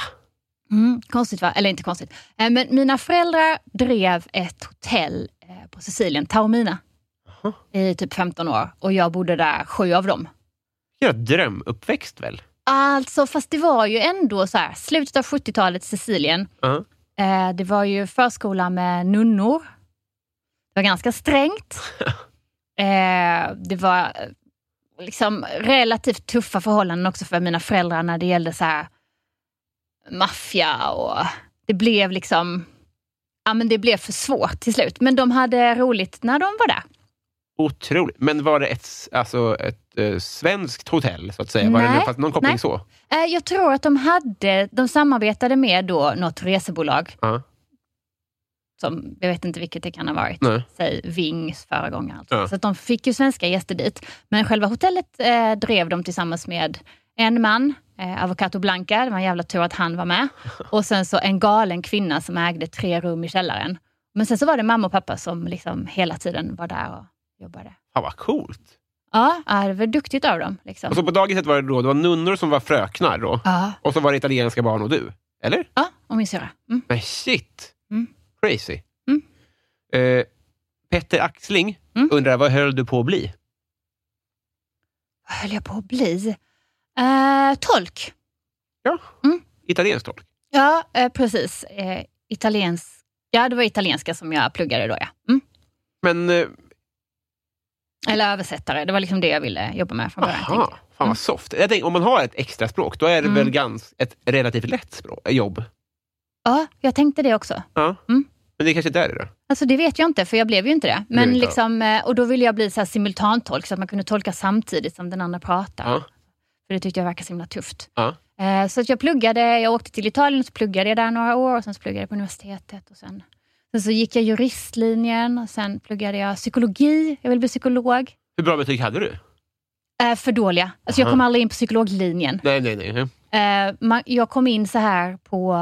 S4: Mm, konstigt va? Eller inte konstigt. Eh, Men mina föräldrar drev ett hotell eh, på Sicilien, Taormina,
S3: Jaha.
S4: i typ 15 år. Och jag bodde där sju av dem.
S3: Jag drömuppväxt väl?
S4: Alltså, fast det var ju ändå så här, slutet av 70-talet, Sicilien.
S3: Ja.
S4: Eh, Det var ju förskola med nunnor. Det var ganska strängt. Eh, Det var eh, liksom relativt tuffa förhållanden också för mina föräldrar när det gällde så här maffia och det blev liksom, ja men det blev för svårt till slut. Men de hade roligt när de var där.
S3: Otroligt. Men var det ett, alltså ett eh, svenskt hotell, så att säga? Var
S4: Nej.
S3: det fast någon koppling
S4: Nej.
S3: så?
S4: Eh, Jag tror att de hade, de samarbetade med då något resebolag
S3: Ja.
S4: som, jag vet inte vilket det kan ha varit,
S3: Nej.
S4: säg Vings föregångare. Alltså.
S3: Ja.
S4: Så att de fick ju svenska gäster dit. Men själva hotellet eh, drev de tillsammans med en man eh, Avocado Blanca. Det var en jävla tur att han var med. Och sen så en galen kvinna som ägde tre rum i källaren. Men sen så var det mamma och pappa som liksom hela tiden var där och jobbade.
S3: Fan vad coolt.
S4: Ja, ja, det var duktigt av dem. Liksom.
S3: Och så på dagiset var det då, det var nunnor som var fröknar då.
S4: Ja,
S3: Och så var det italienska barn och du. Eller?
S4: ja, och min syrra. Mm.
S3: Men shit!
S4: Mm.
S3: Crazy.
S4: Mm.
S3: Eh, Petter Axling
S4: Mm.
S3: undrar, vad höll du på att bli?
S4: Vad höll jag på att bli? Eh, tolk.
S3: Italiensk tolk.
S4: Ja, eh, precis. Eh, italiensk. Ja, det var italienska som jag pluggade då, ja. Mm.
S3: Men, eh,
S4: Eller översättare. Det var liksom det jag ville jobba med från början. Mm. tänkte
S3: aha, fan vad soft. Jag tänker, om man har ett extra språk, då är det
S4: Mm.
S3: väl gans, ett relativt lätt språk, eh, jobb?
S4: jag. Ja, jag tänkte det också.
S3: Ja.
S4: Mm.
S3: Men det kanske inte är det då?
S4: Alltså det vet jag inte, för jag blev ju inte det.
S3: blev
S4: Men
S3: inte
S4: liksom, eh, och då ville jag bli så här simultantolk, så att man kunde tolka samtidigt som den andra pratade.
S3: Ja.
S4: För det tyckte jag verkade så himla tufft.
S3: Ja.
S4: Eh, Så att jag pluggade, jag åkte till Italien och så pluggade jag där några år och sen så pluggade jag på universitetet. Och sen, sen så gick jag juristlinjen och sen pluggade jag psykologi. Jag ville bli psykolog.
S3: Hur bra betyg hade du?
S4: Eh, För dåliga. Alltså jag
S3: Aha.
S4: kom aldrig in på psykologlinjen.
S3: Nej, nej, nej. nej.
S4: Eh, man, jag kom in så här på...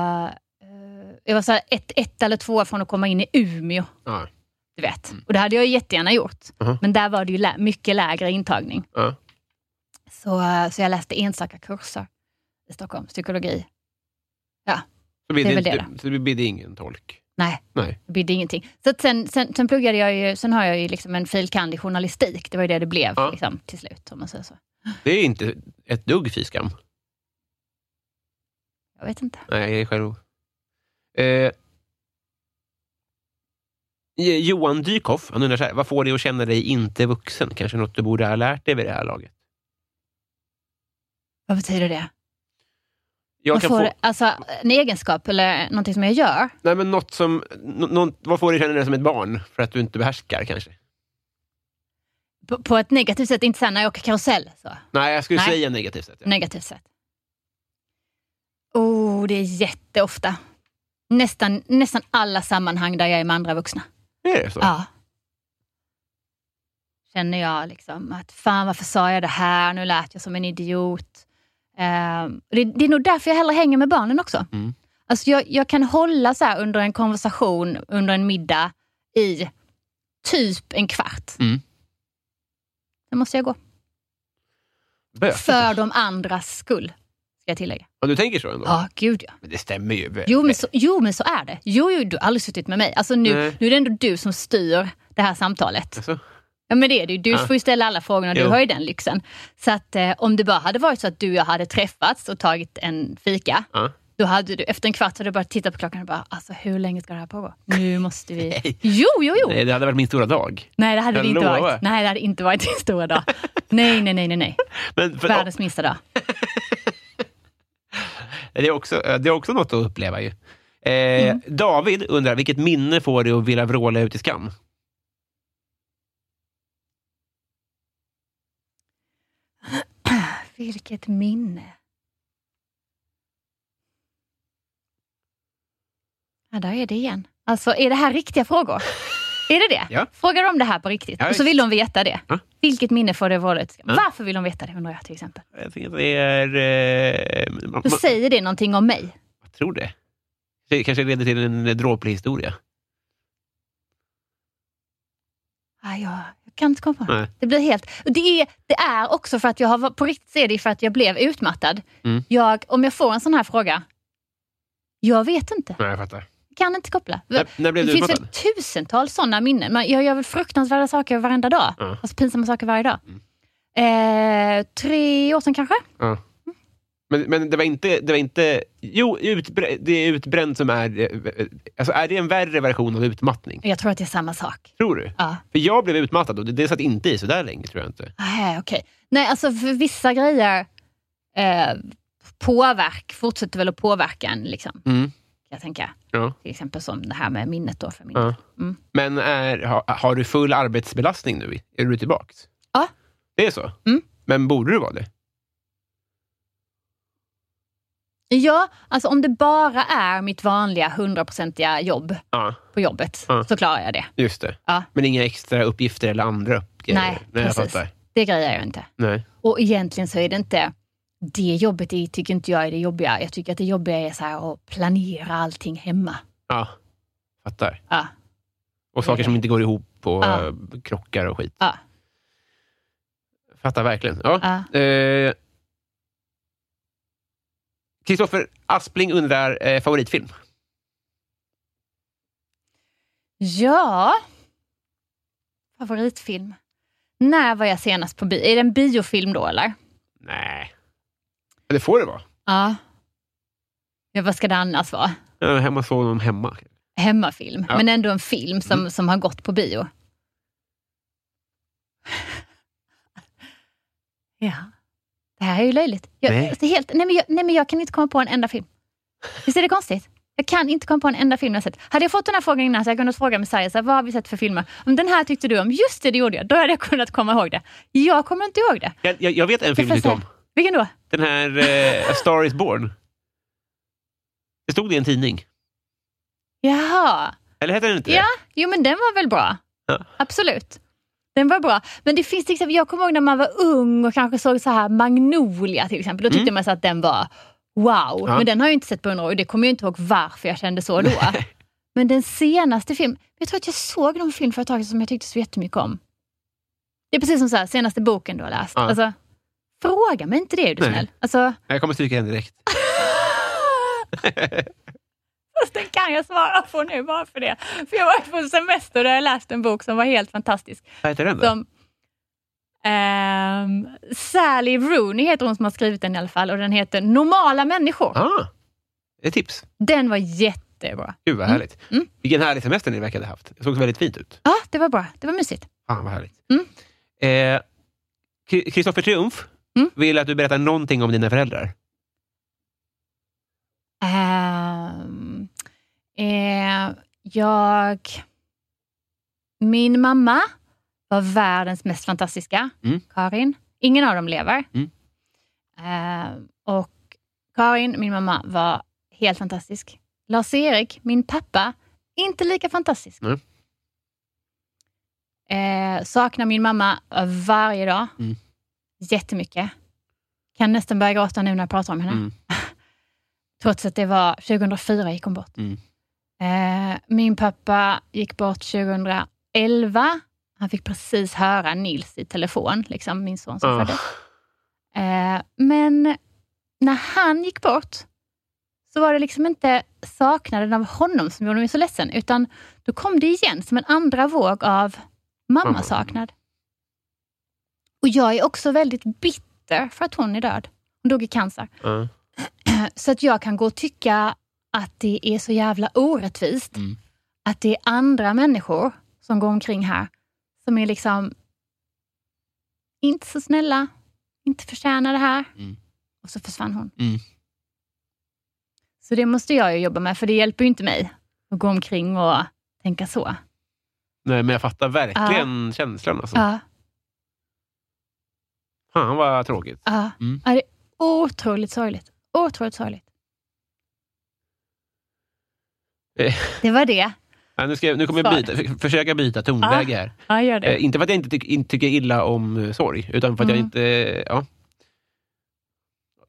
S4: Eh, jag var så här ett, ett eller två från att komma in i Umeå.
S3: Ja.
S4: Du vet. Och det hade jag jättegärna gjort.
S3: Mm. Aha.
S4: Men där var det ju lä- mycket lägre intagning.
S3: Ja.
S4: Så, eh, så jag läste enstaka kurser i Stockholm, psykologi.
S3: Så blir
S4: Det är
S3: det,
S4: väl det
S3: inte- så det blir det ingen tolk?
S4: Nej.
S3: Nej.
S4: Det bidde ingenting. Så att sen, sen, sen pluggade jag ju, sen har jag ju liksom en filkand i journalistik. Det var ju det det blev
S3: Ja.
S4: liksom, till slut, om man säger så.
S3: Det är inte ett dugg fy skam.
S4: Jag vet inte.
S3: Nej, jag är själv. Eh, J- eh, Johan Dykhoff, han undrar så här, vad får dig att känna dig inte vuxen? Kanske något du borde ha lärt dig vid det här laget?
S4: Vad betyder det?
S3: Jag
S4: Vad
S3: kan
S4: får,
S3: få,
S4: det- Alltså, en egenskap eller någonting som jag gör?
S3: nej, men något som, nå- nå- vad får dig att känna dig som ett barn för att du inte behärskar kanske?
S4: På, på ett negativt sätt, inte så här när jag åker karusell. Så.
S3: Nej, jag skulle
S4: Nej.
S3: säga negativt sätt. Ja.
S4: Negativt sätt. Oh, det är jätteofta. Nästan, nästan alla sammanhang där jag är med andra vuxna.
S3: Är det så?
S4: Ja. Känner jag liksom att fan varför sa jag det här? Nu lät jag som en idiot. Ehm, det, det är nog därför jag hellre hänger med barnen också.
S3: Mm.
S4: Alltså jag, jag kan hålla så här under en konversation, under en middag i typ en kvart.
S3: Mm.
S4: Sen måste jag gå.
S3: Bökigt.
S4: För de andras skull, ska jag tillägga.
S3: Ja, du tänker så ändå?
S4: Ja, gud ja.
S3: Men det stämmer ju.
S4: Jo men, så, jo, men så är det. Jo, jo du har aldrig suttit med mig. Alltså nu,
S3: Nej.
S4: nu är det ändå du som styr det här samtalet.
S3: Alltså,
S4: Ja, men det är det ju. Du
S3: Ja.
S4: får ju ställa alla frågorna, du
S3: Jo.
S4: har ju den lyxen. Så att eh, om det bara hade varit så att du och jag hade träffats och tagit en fika,
S3: Ja.
S4: då hade du efter en kvart hade du bara tittat på klockan och bara, alltså hur länge ska det här pågå? Nu måste vi...
S3: Nej.
S4: Jo, jo, jo! Nej,
S3: nej, det hade varit min stora dag.
S4: det hade
S3: Jag
S4: det inte
S3: lovar.
S4: varit. Nej, det hade inte varit din stora dag. nej, nej, nej, nej, nej.
S3: Men för,
S4: Världens minsta dag.
S3: Det är också, det är också något att uppleva ju. Eh,
S4: Mm.
S3: David undrar, vilket minne får dig att vilja vråla ut i skam?
S4: Vilket minne. Ja, där är det igen. Alltså, är det här riktiga frågor? Är det det?
S3: Ja.
S4: Frågar de det här på riktigt?
S3: Ja,
S4: och så vill
S3: visst.
S4: de veta det.
S3: Ja.
S4: Vilket minne får det vara?
S3: Ja.
S4: Varför vill de veta det, undrar jag till exempel.
S3: Jag tänker att det är... Eh, man, man,
S4: Då säger det någonting om mig.
S3: jag tror det. Det kanske leder till en dråplig historia.
S4: Ah, jag, jag kan inte komma på det.
S3: Nej.
S4: Det blir helt... och Det är, det är också för att jag har... var- På riktigt så är det för att jag blev utmattad.
S3: Mm.
S4: Jag, om jag får en sån här fråga, jag vet inte.
S3: Nej, jag fattar.
S4: Kan inte koppla.
S3: När, när blev
S4: Det
S3: du
S4: finns
S3: utmattad?
S4: väl tusentals sådana minnen. Man, jag gör väl fruktansvärda saker varenda dag.
S3: Ja.
S4: Alltså pinsamma saker varje dag.
S3: Mm.
S4: Eh, tre år sedan kanske?
S3: Men, men det var inte... Det var inte jo, utbrä, det är utbränd som är... eh, Alltså, är det en värre version av utmattning?
S4: Jag tror att det är samma sak.
S3: Tror du?
S4: Ja.
S3: För jag blev utmattad och det, det satt inte i så där länge, tror jag inte.
S4: Ah, okej. Nej, alltså för vissa grejer eh, påverk, fortsätter väl att påverka en. Liksom, kan
S3: Mm.
S4: jag tänka.
S3: Ja.
S4: Till exempel som det här med minnet. Då för minnet.
S3: Ja.
S4: Mm.
S3: Men är, har, har du full arbetsbelastning nu? Är du tillbaks?
S4: Ja.
S3: Det är så?
S4: Mm.
S3: Men borde du vara det?
S4: Ja, alltså om det bara är mitt vanliga hundraprocentiga jobb
S3: Ja,
S4: på jobbet
S3: Ja.
S4: så klarar jag det.
S3: just det.
S4: Ja.
S3: Men inga extra uppgifter eller andra uppgifter?
S4: Nej,
S3: Nej jag
S4: precis.
S3: fattar.
S4: Det grejer jag inte.
S3: Nej.
S4: Och egentligen så är det inte Det jobbet är, tycker inte jag är det jobbiga. Jag tycker att det jobbiga är så här att planera allting hemma.
S3: Ja, fattar.
S4: Ja,
S3: Och saker som inte går ihop på
S4: Ja.
S3: eh, krockar och skit.
S4: ja,
S3: Fattar verkligen. Ja.
S4: ja.
S3: Eh, Kristoffer Aspling undrar eh, favoritfilm.
S4: ja. Favoritfilm. När var jag senast på bio? Är det en biofilm då eller?
S3: Nej. Det får det vara.
S4: Ja. ja vad ska det annars vara?
S3: Jag var hemma och såg honom hemma.
S4: Hemmafilm,
S3: Ja. Mm.
S4: men ändå en film som, som har gått på bio. ja. Det här är ju löjligt. Jag,
S3: Nej.
S4: alltså Helt, nej, men jag, nej, men jag kan inte komma på en enda film. Visst är det konstigt? Jag kan inte komma på en enda film jag sett. Hade jag fått den här frågan innan så hade jag kunnat fråga Messiah, så här, vad har vi sett för filmer? Om den här tyckte du om, just det, det gjorde jag. Då hade jag kunnat komma ihåg det. Jag kommer inte ihåg det.
S3: Jag, jag, jag vet en film du tyckte
S4: Professor.
S3: om.
S4: Vilken då?
S3: Den här eh, A Star Is Born. Det stod i en tidning.
S4: Jaha.
S3: Eller hette den inte
S4: Ja, jo men den var väl bra.
S3: Ja.
S4: Absolut. Den var bra. Men det finns till exempel, jag kommer ihåg när man var ung och kanske såg så här Magnolia till exempel. Då tyckte man så att den var wow.
S3: Mm. Ja.
S4: Men den har jag inte sett på hundra år och det kommer jag inte ihåg varför jag kände så då. Men den senaste filmen, jag tror att jag såg någon film för ett tag sedan som jag tyckte så jättemycket om. Det är precis som så här, senaste boken du har läst.
S3: Ja.
S4: Alltså, fråga mig inte det är du
S3: Nej.
S4: snäll. Alltså,
S3: det? Jag kommer stryka den direkt.
S4: Fast den kan jag svara på nu bara för det. För jag var på semester och jag läste en bok som var helt fantastisk.
S3: Vad heter den då?
S4: Som, ehm, Sally Rooney heter hon som har skrivit den i alla fall och den heter Normala människor.
S3: Ah, ett tips.
S4: Den var jättebra.
S3: Gud vad härligt.
S4: Mm.
S3: Vilken härlig semester ni verkade ha haft. Det såg väldigt fint ut.
S4: Ja, det var bra. Det var mysigt.
S3: Fan vad härligt.
S4: Mm.
S3: Eh, Kri- Kristoffer Triumf
S4: Mm.
S3: vill att du berättar någonting om dina föräldrar.
S4: Ehm, eh, jag... Min mamma var världens mest fantastiska,
S3: Mm.
S4: Karin. Ingen av dem lever.
S3: Mm.
S4: Ehm, och Karin, min mamma, var helt fantastisk. Lars-Erik, min pappa, inte lika fantastisk.
S3: Nej.
S4: Ehm, saknar min mamma varje dag.
S3: Mm.
S4: Jättemycket. Kan nästan börja gråta nu när jag pratar om henne.
S3: Mm.
S4: Trots att det var 2004 gick hon bort.
S3: Mm.
S4: Eh, min pappa gick bort 2011. Han fick precis höra Nils i telefon, liksom, min son som
S3: Ah.
S4: föddes. Eh, men när han gick bort så var det liksom inte saknaden av honom som gjorde mig så ledsen, utan då kom det igen som en andra våg av mammasaknad. Och jag är också väldigt bitter för att hon är död. Hon dog i cancer.
S3: Ja.
S4: Eh, Så att jag kan gå och tycka att det är så jävla orättvist.
S3: Mm.
S4: Att det är andra människor som går omkring här som är liksom inte så snälla, inte förtjänar det här.
S3: Mm.
S4: Och så försvann hon.
S3: Mm.
S4: Så det måste jag ju jobba med, för det hjälper ju inte mig att gå omkring och tänka så.
S3: Nej, men jag fattar
S4: Ah.
S3: verkligen känslan. Alltså.
S4: Ja,
S3: Fan vad tråkigt.
S4: ja.
S3: Mm.
S4: ja, det är otroligt sorgligt. Otroligt sorgligt.
S3: Eh.
S4: Det var det.
S3: Ja, nu, ska jag, nu kommer jag byta,
S4: Svar.
S3: för- försöka byta tonläge här.
S4: Ja, gör Ah, det.
S3: Eh, inte för att jag inte, tyck, inte tycker illa om eh, sorg, utan för att jag
S4: Mm.
S3: inte... eh, Ja.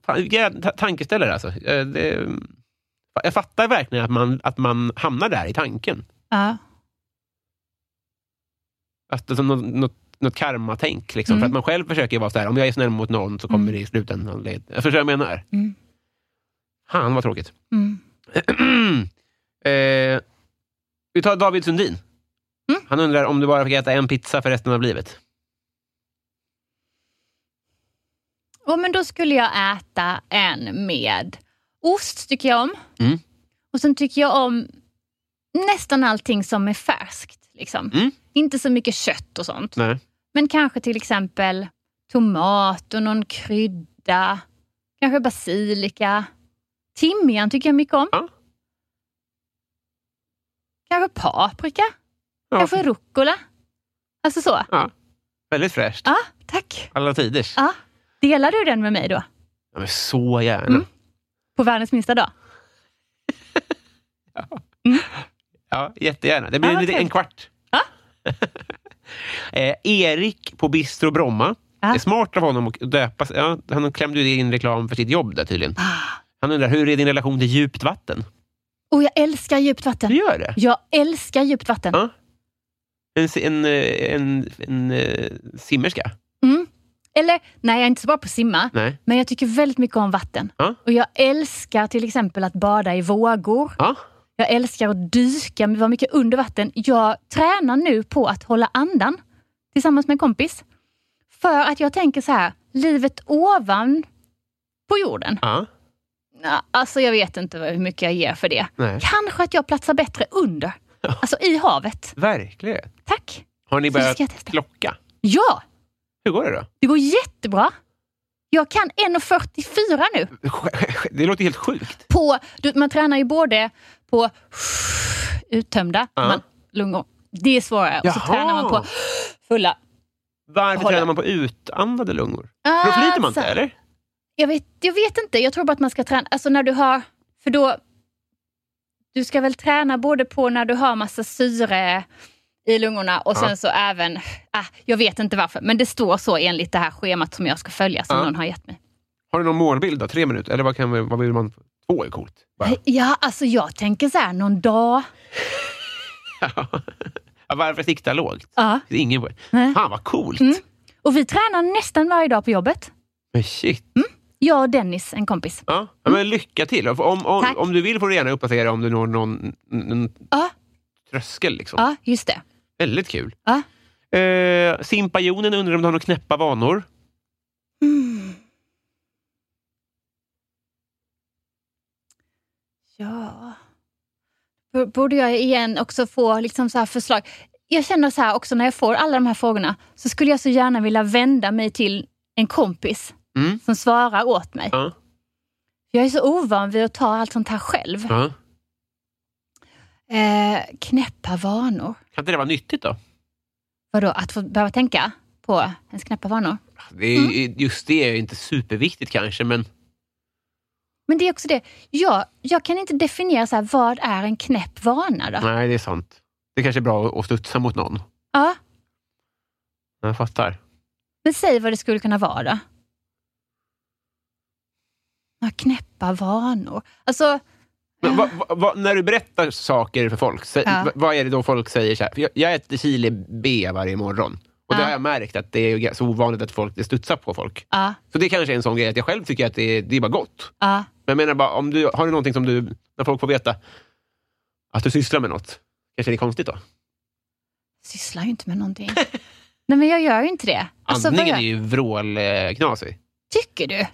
S3: Fan, vilka ta- tankeställare alltså. Eh, det, jag fattar verkligen att man, att man hamnar där i tanken.
S4: Ja.
S3: Alltså, som något, något, något karmatänk. Liksom.
S4: Mm.
S3: För att man själv försöker vara så här, om jag är snäll mot någon så kommer
S4: Mm.
S3: det i slutändan leda... Jag förstår vad jag menar.
S4: Mm.
S3: Han var tråkigt.
S4: Mm.
S3: eh, vi tar David Sundin.
S4: Mm.
S3: Han undrar om du bara fick äta en pizza för resten av livet.
S4: Och men då skulle jag äta en med ost, tycker jag om.
S3: Mm.
S4: Och sen tycker jag om nästan allting som är färskt. Liksom.
S3: Mm.
S4: Inte så mycket kött och sånt.
S3: Nej.
S4: Men kanske till exempel tomat och någon krydda. Kanske basilika. Timjan tycker jag mycket om.
S3: Ja.
S4: Kanske paprika. Kanske rucola. Alltså så.
S3: Väldigt fräscht.
S4: Ja, tack.
S3: Alla tiders.
S4: Ja. Delar du den med mig då?
S3: Ja, men så gärna.
S4: Mm. På världens minsta dag?
S3: Ja, jättegärna. Det blir
S4: Ja,
S3: en,
S4: vad
S3: liten- en
S4: trevligt.
S3: kvart. eh, Erik på Bistro Bromma
S4: Ja.
S3: Det är smart av honom att döpa sig. Ja, han klämde ju in reklam för sitt jobb där tydligen. Han undrar, hur är din relation till djupt vatten?
S4: Ah. Och jag älskar djupt vatten.
S3: Du gör det?
S4: Jag älskar djupt vatten.
S3: Ja. En, si- en, eh, en, en, eh, simmerska?
S4: Mm. Eller, nej jag är inte så bra på att simma,
S3: Nej.
S4: men jag tycker väldigt mycket om vatten.
S3: Ja.
S4: Och jag älskar till exempel att bada i vågor.
S3: Ja.
S4: Jag älskar att dyka, men vara mycket under vatten. Jag tränar nu på att hålla andan tillsammans med en kompis. För att jag tänker så här, livet ovan på jorden.
S3: ja.
S4: Ja, alltså jag vet inte hur mycket jag ger för det.
S3: Nej.
S4: Kanske att jag platsar bättre under. Alltså i havet.
S3: Verkligen.
S4: Tack!
S3: Har ni
S4: Så det
S3: börjat
S4: ska jag testa.
S3: klocka?
S4: Ja,
S3: Hur går det då?
S4: det går jättebra. Jag kan 1,44 nu.
S3: Det låter helt sjukt.
S4: På, du, man tränar ju både på uttömda
S3: Ja.
S4: man, lungor. Det är svårare. Och så
S3: Jaha.
S4: tränar man på fulla.
S3: Varför
S4: Håller.
S3: tränar man på utandade lungor? För då flyter man inte,
S4: Alltså,
S3: eller?
S4: Jag vet, jag vet inte. Jag tror bara att man ska träna. Alltså när du har... För då... Du ska väl träna både på när du har massa syre i lungorna och sen
S3: Ja.
S4: så även... Ah, jag vet inte varför, men det står så enligt det här schemat som jag ska följa som
S3: Ja.
S4: någon har gett mig.
S3: Har du någon målbild då? Tre minuter? Eller vad, kan, vi- vad vill man? Två är coolt. Bara.
S4: Ja, alltså jag tänker så här någon dag.
S3: Ja, varför sikta lågt?
S4: Ja.
S3: Det är ingen poäng.
S4: Nej.
S3: Fan vad coolt!
S4: Mm. Och vi tränar nästan varje dag på jobbet.
S3: Men shit.
S4: Jag och Dennis, en kompis.
S3: Ja. Ja, men lycka till! Om, om,
S4: Tack.
S3: om du vill får du gärna uppdatera om du når någon, någon
S4: Ja,
S3: tröskel. Liksom.
S4: ja just det.
S3: Väldigt kul.
S4: Ja.
S3: Eh, Simpajonen undrar om du har några knäppa vanor?
S4: Mm. Ja. B- Borde jag igen också få liksom så här förslag? Jag känner så här också när jag får alla de här frågorna så skulle jag så gärna vilja vända mig till en kompis
S3: Mm.
S4: som svarar åt mig.
S3: Ja.
S4: Jag är så ovan vid att ta allt sånt här själv.
S3: Ja.
S4: Eh, knäppa vanor.
S3: Kan inte det vara nyttigt då?
S4: Vadå, att få behöva tänka på ens knäppa vanor?
S3: Det
S4: Mm.
S3: är, Just det är ju inte superviktigt kanske, men
S4: Men det är också det, jag, jag kan inte definiera så här, vad är en knäpp vana då?
S3: nej, det är sant. Det kanske är bra att- att studsa mot någon.
S4: Ja,
S3: Jag fattar.
S4: men säg vad det skulle kunna vara då. Ja, knäppa vanor. Alltså,
S3: Men vad- vad- vad- när du berättar saker för folk, sä,
S4: Ja.
S3: v- vad är det då folk säger? Så här, För jag, jag äter chili B varje morgon. Och det
S4: Ja.
S3: har jag märkt att det är ju ganska- så ovanligt att folk det studsar på folk.
S4: ja,
S3: Så det kanske är en sån grej att jag själv tycker att det är, det är bara gott.
S4: ja.
S3: Men jag menar bara, om du, har du någonting som du, när folk får veta att du sysslar med något, kanske det är konstigt då?
S4: Sysslar ju inte med någonting. Nej, men jag gör ju inte det. Alltså, vad
S3: Andningen är
S4: gör-
S3: ju vrålknasig.
S4: Tycker du?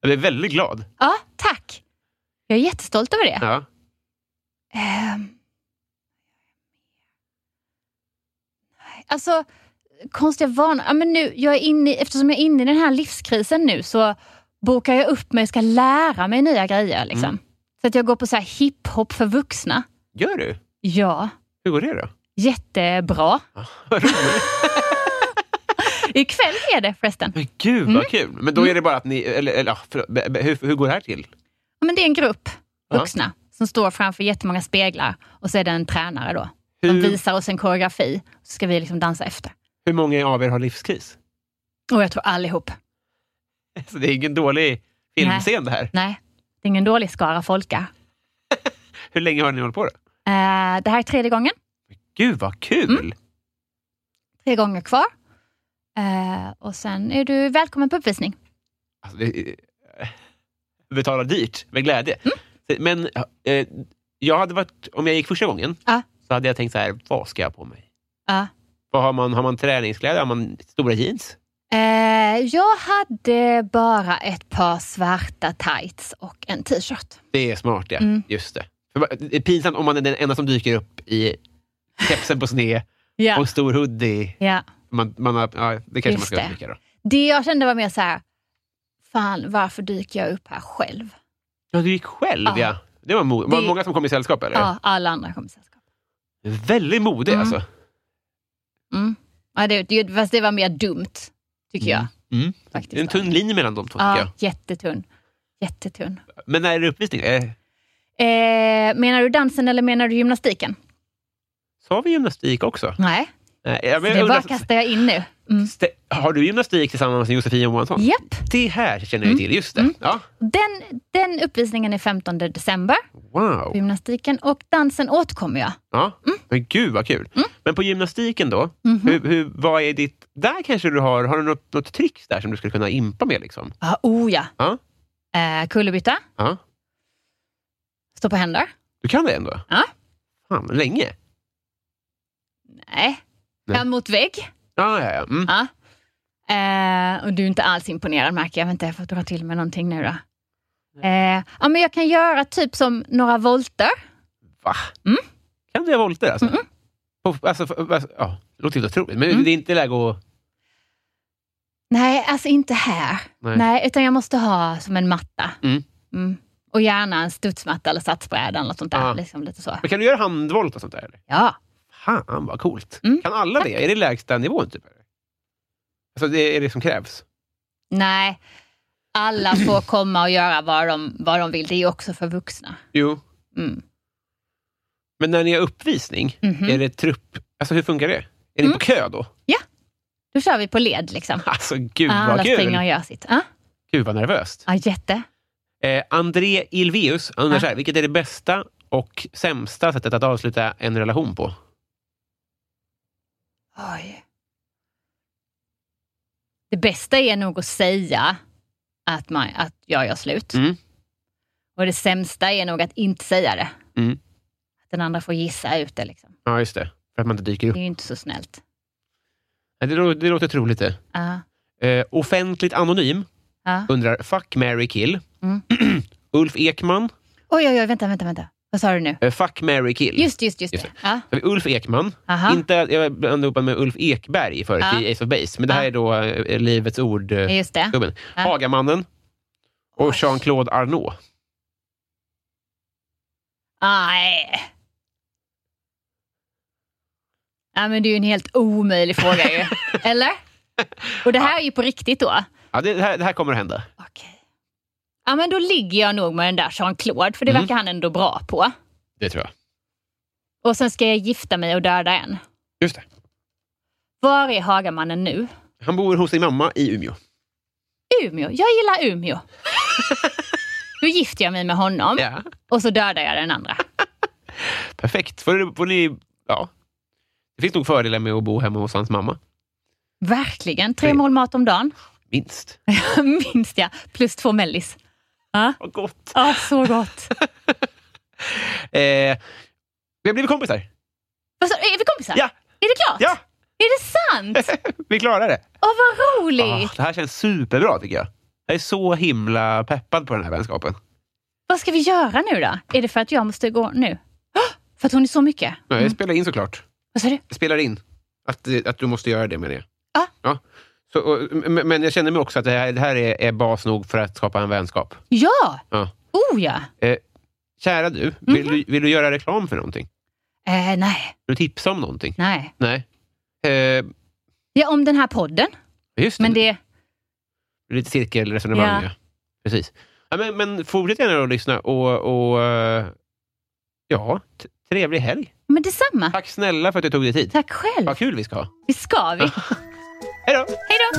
S3: Jag blir väldigt glad.
S4: Ja, tack. Jag är jättestolt över det.
S3: Ja.
S4: Ehm. Nej, Alltså, konstiga vanor. Ja, men nu, jag är inne, i- eftersom jag är inne i den här livskrisen nu så bokar jag upp mig och ska lära mig nya grejer. Liksom.
S3: Mm.
S4: Så att jag går på så här hiphop för vuxna.
S3: Gör du?
S4: Ja,
S3: Hur går det då?
S4: jättebra.
S3: Ja, vad roligt.
S4: Ikväll är det förresten.
S3: Men gud vad
S4: Mm.
S3: kul! Men då är det bara att ni, eller, eller ja, förlåt, be- be- hur, hur går det här till?
S4: Ja, men det är en grupp
S3: Ja.
S4: vuxna som står framför jättemånga speglar och så är det en tränare då. Som
S3: Hur,
S4: visar oss en koreografi, så ska vi liksom dansa efter.
S3: hur många av er har livskris?
S4: Och jag tror allihop.
S3: Så det är ingen dålig filmscen det här.
S4: Nej, det är ingen dålig skara folka.
S3: Hur länge har ni hållit på då?
S4: Eh, det här är tredje gången.
S3: Gud vad kul!
S4: Mm. Tre gånger kvar. Eh, och sen är du välkommen på uppvisning.
S3: Alltså, det, betala dyrt, med glädje.
S4: Mm.
S3: Men eh, jag hade varit, om jag gick första gången,
S4: Ja.
S3: så hade jag tänkt så här, vad ska jag ha på mig?
S4: Ja.
S3: Vad har, man, har man träningskläder? Har man stora jeans?
S4: Eh, jag hade bara ett par svarta tights och en t-shirt.
S3: Det är smart, ja.
S4: Mm.
S3: Just det. För va- det är pinsamt om man är den enda som dyker upp i kepsen på sned och en stor hoodie.
S4: ja.
S3: Man, man har, ja, det kanske man
S4: Just
S3: ska
S4: det.
S3: undvika då.
S4: Det jag kände var mer så här, fan varför dyker jag upp här själv?
S3: Ja, du gick själv,
S4: Ja.
S3: ja. Det var, mo- var det
S4: Det-
S3: många som kom i sällskap, eller?
S4: Ja, alla andra kom i sällskap.
S3: Väldigt modig,
S4: Mm.
S3: alltså.
S4: Mm. Ja, det, det, fast det var mer dumt, tycker jag.
S3: Mm.
S4: Faktiskt.
S3: Det är en tunn linje mellan de två, tycker
S4: Ja,
S3: jag.
S4: jättetunn. Jättetunn.
S3: Men när är det uppvisning? Eh,
S4: Eh, menar du dansen eller menar du gymnastiken?
S3: Sa vi gymnastik också?
S4: Nej,
S3: Nej, jag, men,
S4: det
S3: jag
S4: bara
S3: undrar,
S4: kastar jag in nu. Mm.
S3: Ste- Har du gymnastik tillsammans med Josefin Johansson?
S4: Japp.
S3: Det här känner jag ju till. Just det.
S4: Mm.
S3: Ja.
S4: Den, den uppvisningen är 15 december, på
S3: Wow.
S4: gymnastiken. Och dansen återkommer jag.
S3: Ja.
S4: Mm.
S3: Men gud vad kul. Men på gymnastiken då,
S4: Mhm.
S3: hur, hur, vad är ditt... Där kanske du har, har du något, något tricks där som du skulle kunna impa med? Liksom?
S4: Ah, oh ja.
S3: Ja.
S4: Eh, kullerbytta,
S3: Ja.
S4: stå på händer.
S3: Du kan det ändå?
S4: Ja.
S3: Fan, länge?
S4: Nej.
S3: Nej.
S4: Ja, mot vägg.
S3: Ja, ja, ja. Mm.
S4: Ja. Eh, och du är inte alls imponerad märker jag. Vänta, jag får dra till med någonting nu då. Eh, ja, men jag kan göra typ som några volter.
S3: Va?
S4: Mm.
S3: Kan du göra volter alltså? På- alltså, för- alltså ja, det låter helt otroligt, men
S4: Mm.
S3: det är inte läge att...
S4: Nej, alltså inte här.
S3: Nej.
S4: Nej. utan jag måste ha som en matta.
S3: Mm.
S4: Mm. Och gärna en studsmatta eller satsbräda eller något sånt
S3: Ja.
S4: där. Liksom lite så.
S3: Men kan du göra handvolt och sånt där? Eller?
S4: Ja.
S3: Fan vad coolt!
S4: Mm.
S3: Kan alla det? Är det lägsta nivån? Typ? eller? Alltså, det är det som krävs?
S4: Nej, alla får komma och göra vad de, vad de vill. Det är ju också för vuxna.
S3: Jo.
S4: Mm.
S3: Men när ni har uppvisning,
S4: Mhm. Mm.
S3: är det trupp? Alltså hur funkar det? Är ni på kö då?
S4: Då kör vi på led liksom.
S3: Alltså gud
S4: Alla
S3: vad kul!
S4: springer och gör sitt. Ja,
S3: Gud vad nervöst!
S4: ja jätte.
S3: Eh, André Ilveus han undrar
S4: Ja.
S3: så här, vilket är det bästa och sämsta sättet att avsluta en relation på?
S4: Oj. Det bästa är nog att säga att, man, att jag gör slut.
S3: Mm.
S4: Och det sämsta är nog att inte säga det.
S3: Mm.
S4: Att den andra får gissa ut det. Liksom.
S3: Ja, just det. För att man inte dyker upp.
S4: Det är ju inte så snällt.
S3: Nej, Det, lå- det låter troligt det.
S4: Ja,
S3: Eh, offentligt anonym
S4: ja.
S3: undrar, fuck, marry, kill.
S4: Mm.
S3: Ulf Ekman,
S4: Oj, oj, oj, vänta, vänta, vänta. Vad sa du nu?
S3: eh, fuck, marry, kill.
S4: Just, just, just,
S3: Just
S4: det. Ja.
S3: Har vi Ulf Ekman.
S4: Aha.
S3: Inte, jag blandade ihop honom med Ulf Ekberg förut
S4: Ja.
S3: i Ace of Base, men det här
S4: Ja.
S3: är då eh, Livets ord-gubben.
S4: Just det. Ja.
S3: Hagamannen och Jean-Claude Arnault.
S4: Nej. Ja, men det är ju en helt omöjlig fråga ju. Eller? Och det här är ju på riktigt då.
S3: Ja, det, det, här, det här kommer att hända.
S4: Okej. Ja, men då ligger jag nog med den där Jean-Claude, för det
S3: Mm.
S4: verkar han ändå bra på.
S3: Det tror jag.
S4: Och sen ska jag gifta mig och döda en.
S3: Just det.
S4: Var är Hagamannen nu?
S3: Han bor hos sin mamma i Umeå.
S4: Mm. Umeå. Jag gillar Umeå. Då gifter jag mig med honom
S3: Ja.
S4: och så dödar jag den andra.
S3: Perfekt. Får, du- får ni, ja. Det finns nog fördelar med att bo hemma hos hans mamma.
S4: Verkligen. Tre mål mat om dagen.
S3: Minst.
S4: Minst ja. Plus två mellis.
S3: Vad gott.
S4: Ja, så gott.
S3: Eh, vi har blivit kompisar.
S4: Vad sa, är vi kompisar?
S3: Ja.
S4: Är det klart?
S3: Ja,
S4: Är det sant?
S3: vi klarar det.
S4: Åh, vad roligt!
S3: Ah, det här känns superbra tycker jag. Jag är så himla peppad på den här vänskapen.
S4: Vad ska vi göra nu då? Är det för att jag måste gå nu? Åh, För att hon är så mycket?
S3: Nej, Jag spelar in såklart.
S4: Vad sa du?
S3: Jag spelar in. Att, eh, att du måste göra det menar jag.
S4: Ja.
S3: ja. Så, och, men men jag känner mig också att det här, det här är, är bas nog för att skapa en vänskap.
S4: Ja!
S3: Ja.
S4: Oh ja!
S3: Kära du, vill,
S4: Mhm.
S3: du, vill du göra reklam för någonting?
S4: Eh, nej,
S3: Vill du tipsa om någonting?
S4: nej.
S3: Nej. Eh,
S4: Ja, om den här podden.
S3: just det.
S4: Men det...
S3: Lite cirkelresonemang, ja.
S4: Ja.
S3: Precis. Ja, men, men fortsätt gärna att lyssna och, och eh, ja, t- trevlig helg.
S4: Men detsamma.
S3: Tack snälla för att du tog dig tid.
S4: Tack själv.
S3: Vad kul vi ska ha.
S4: Det ska vi.
S3: Hej då!
S4: Hej då!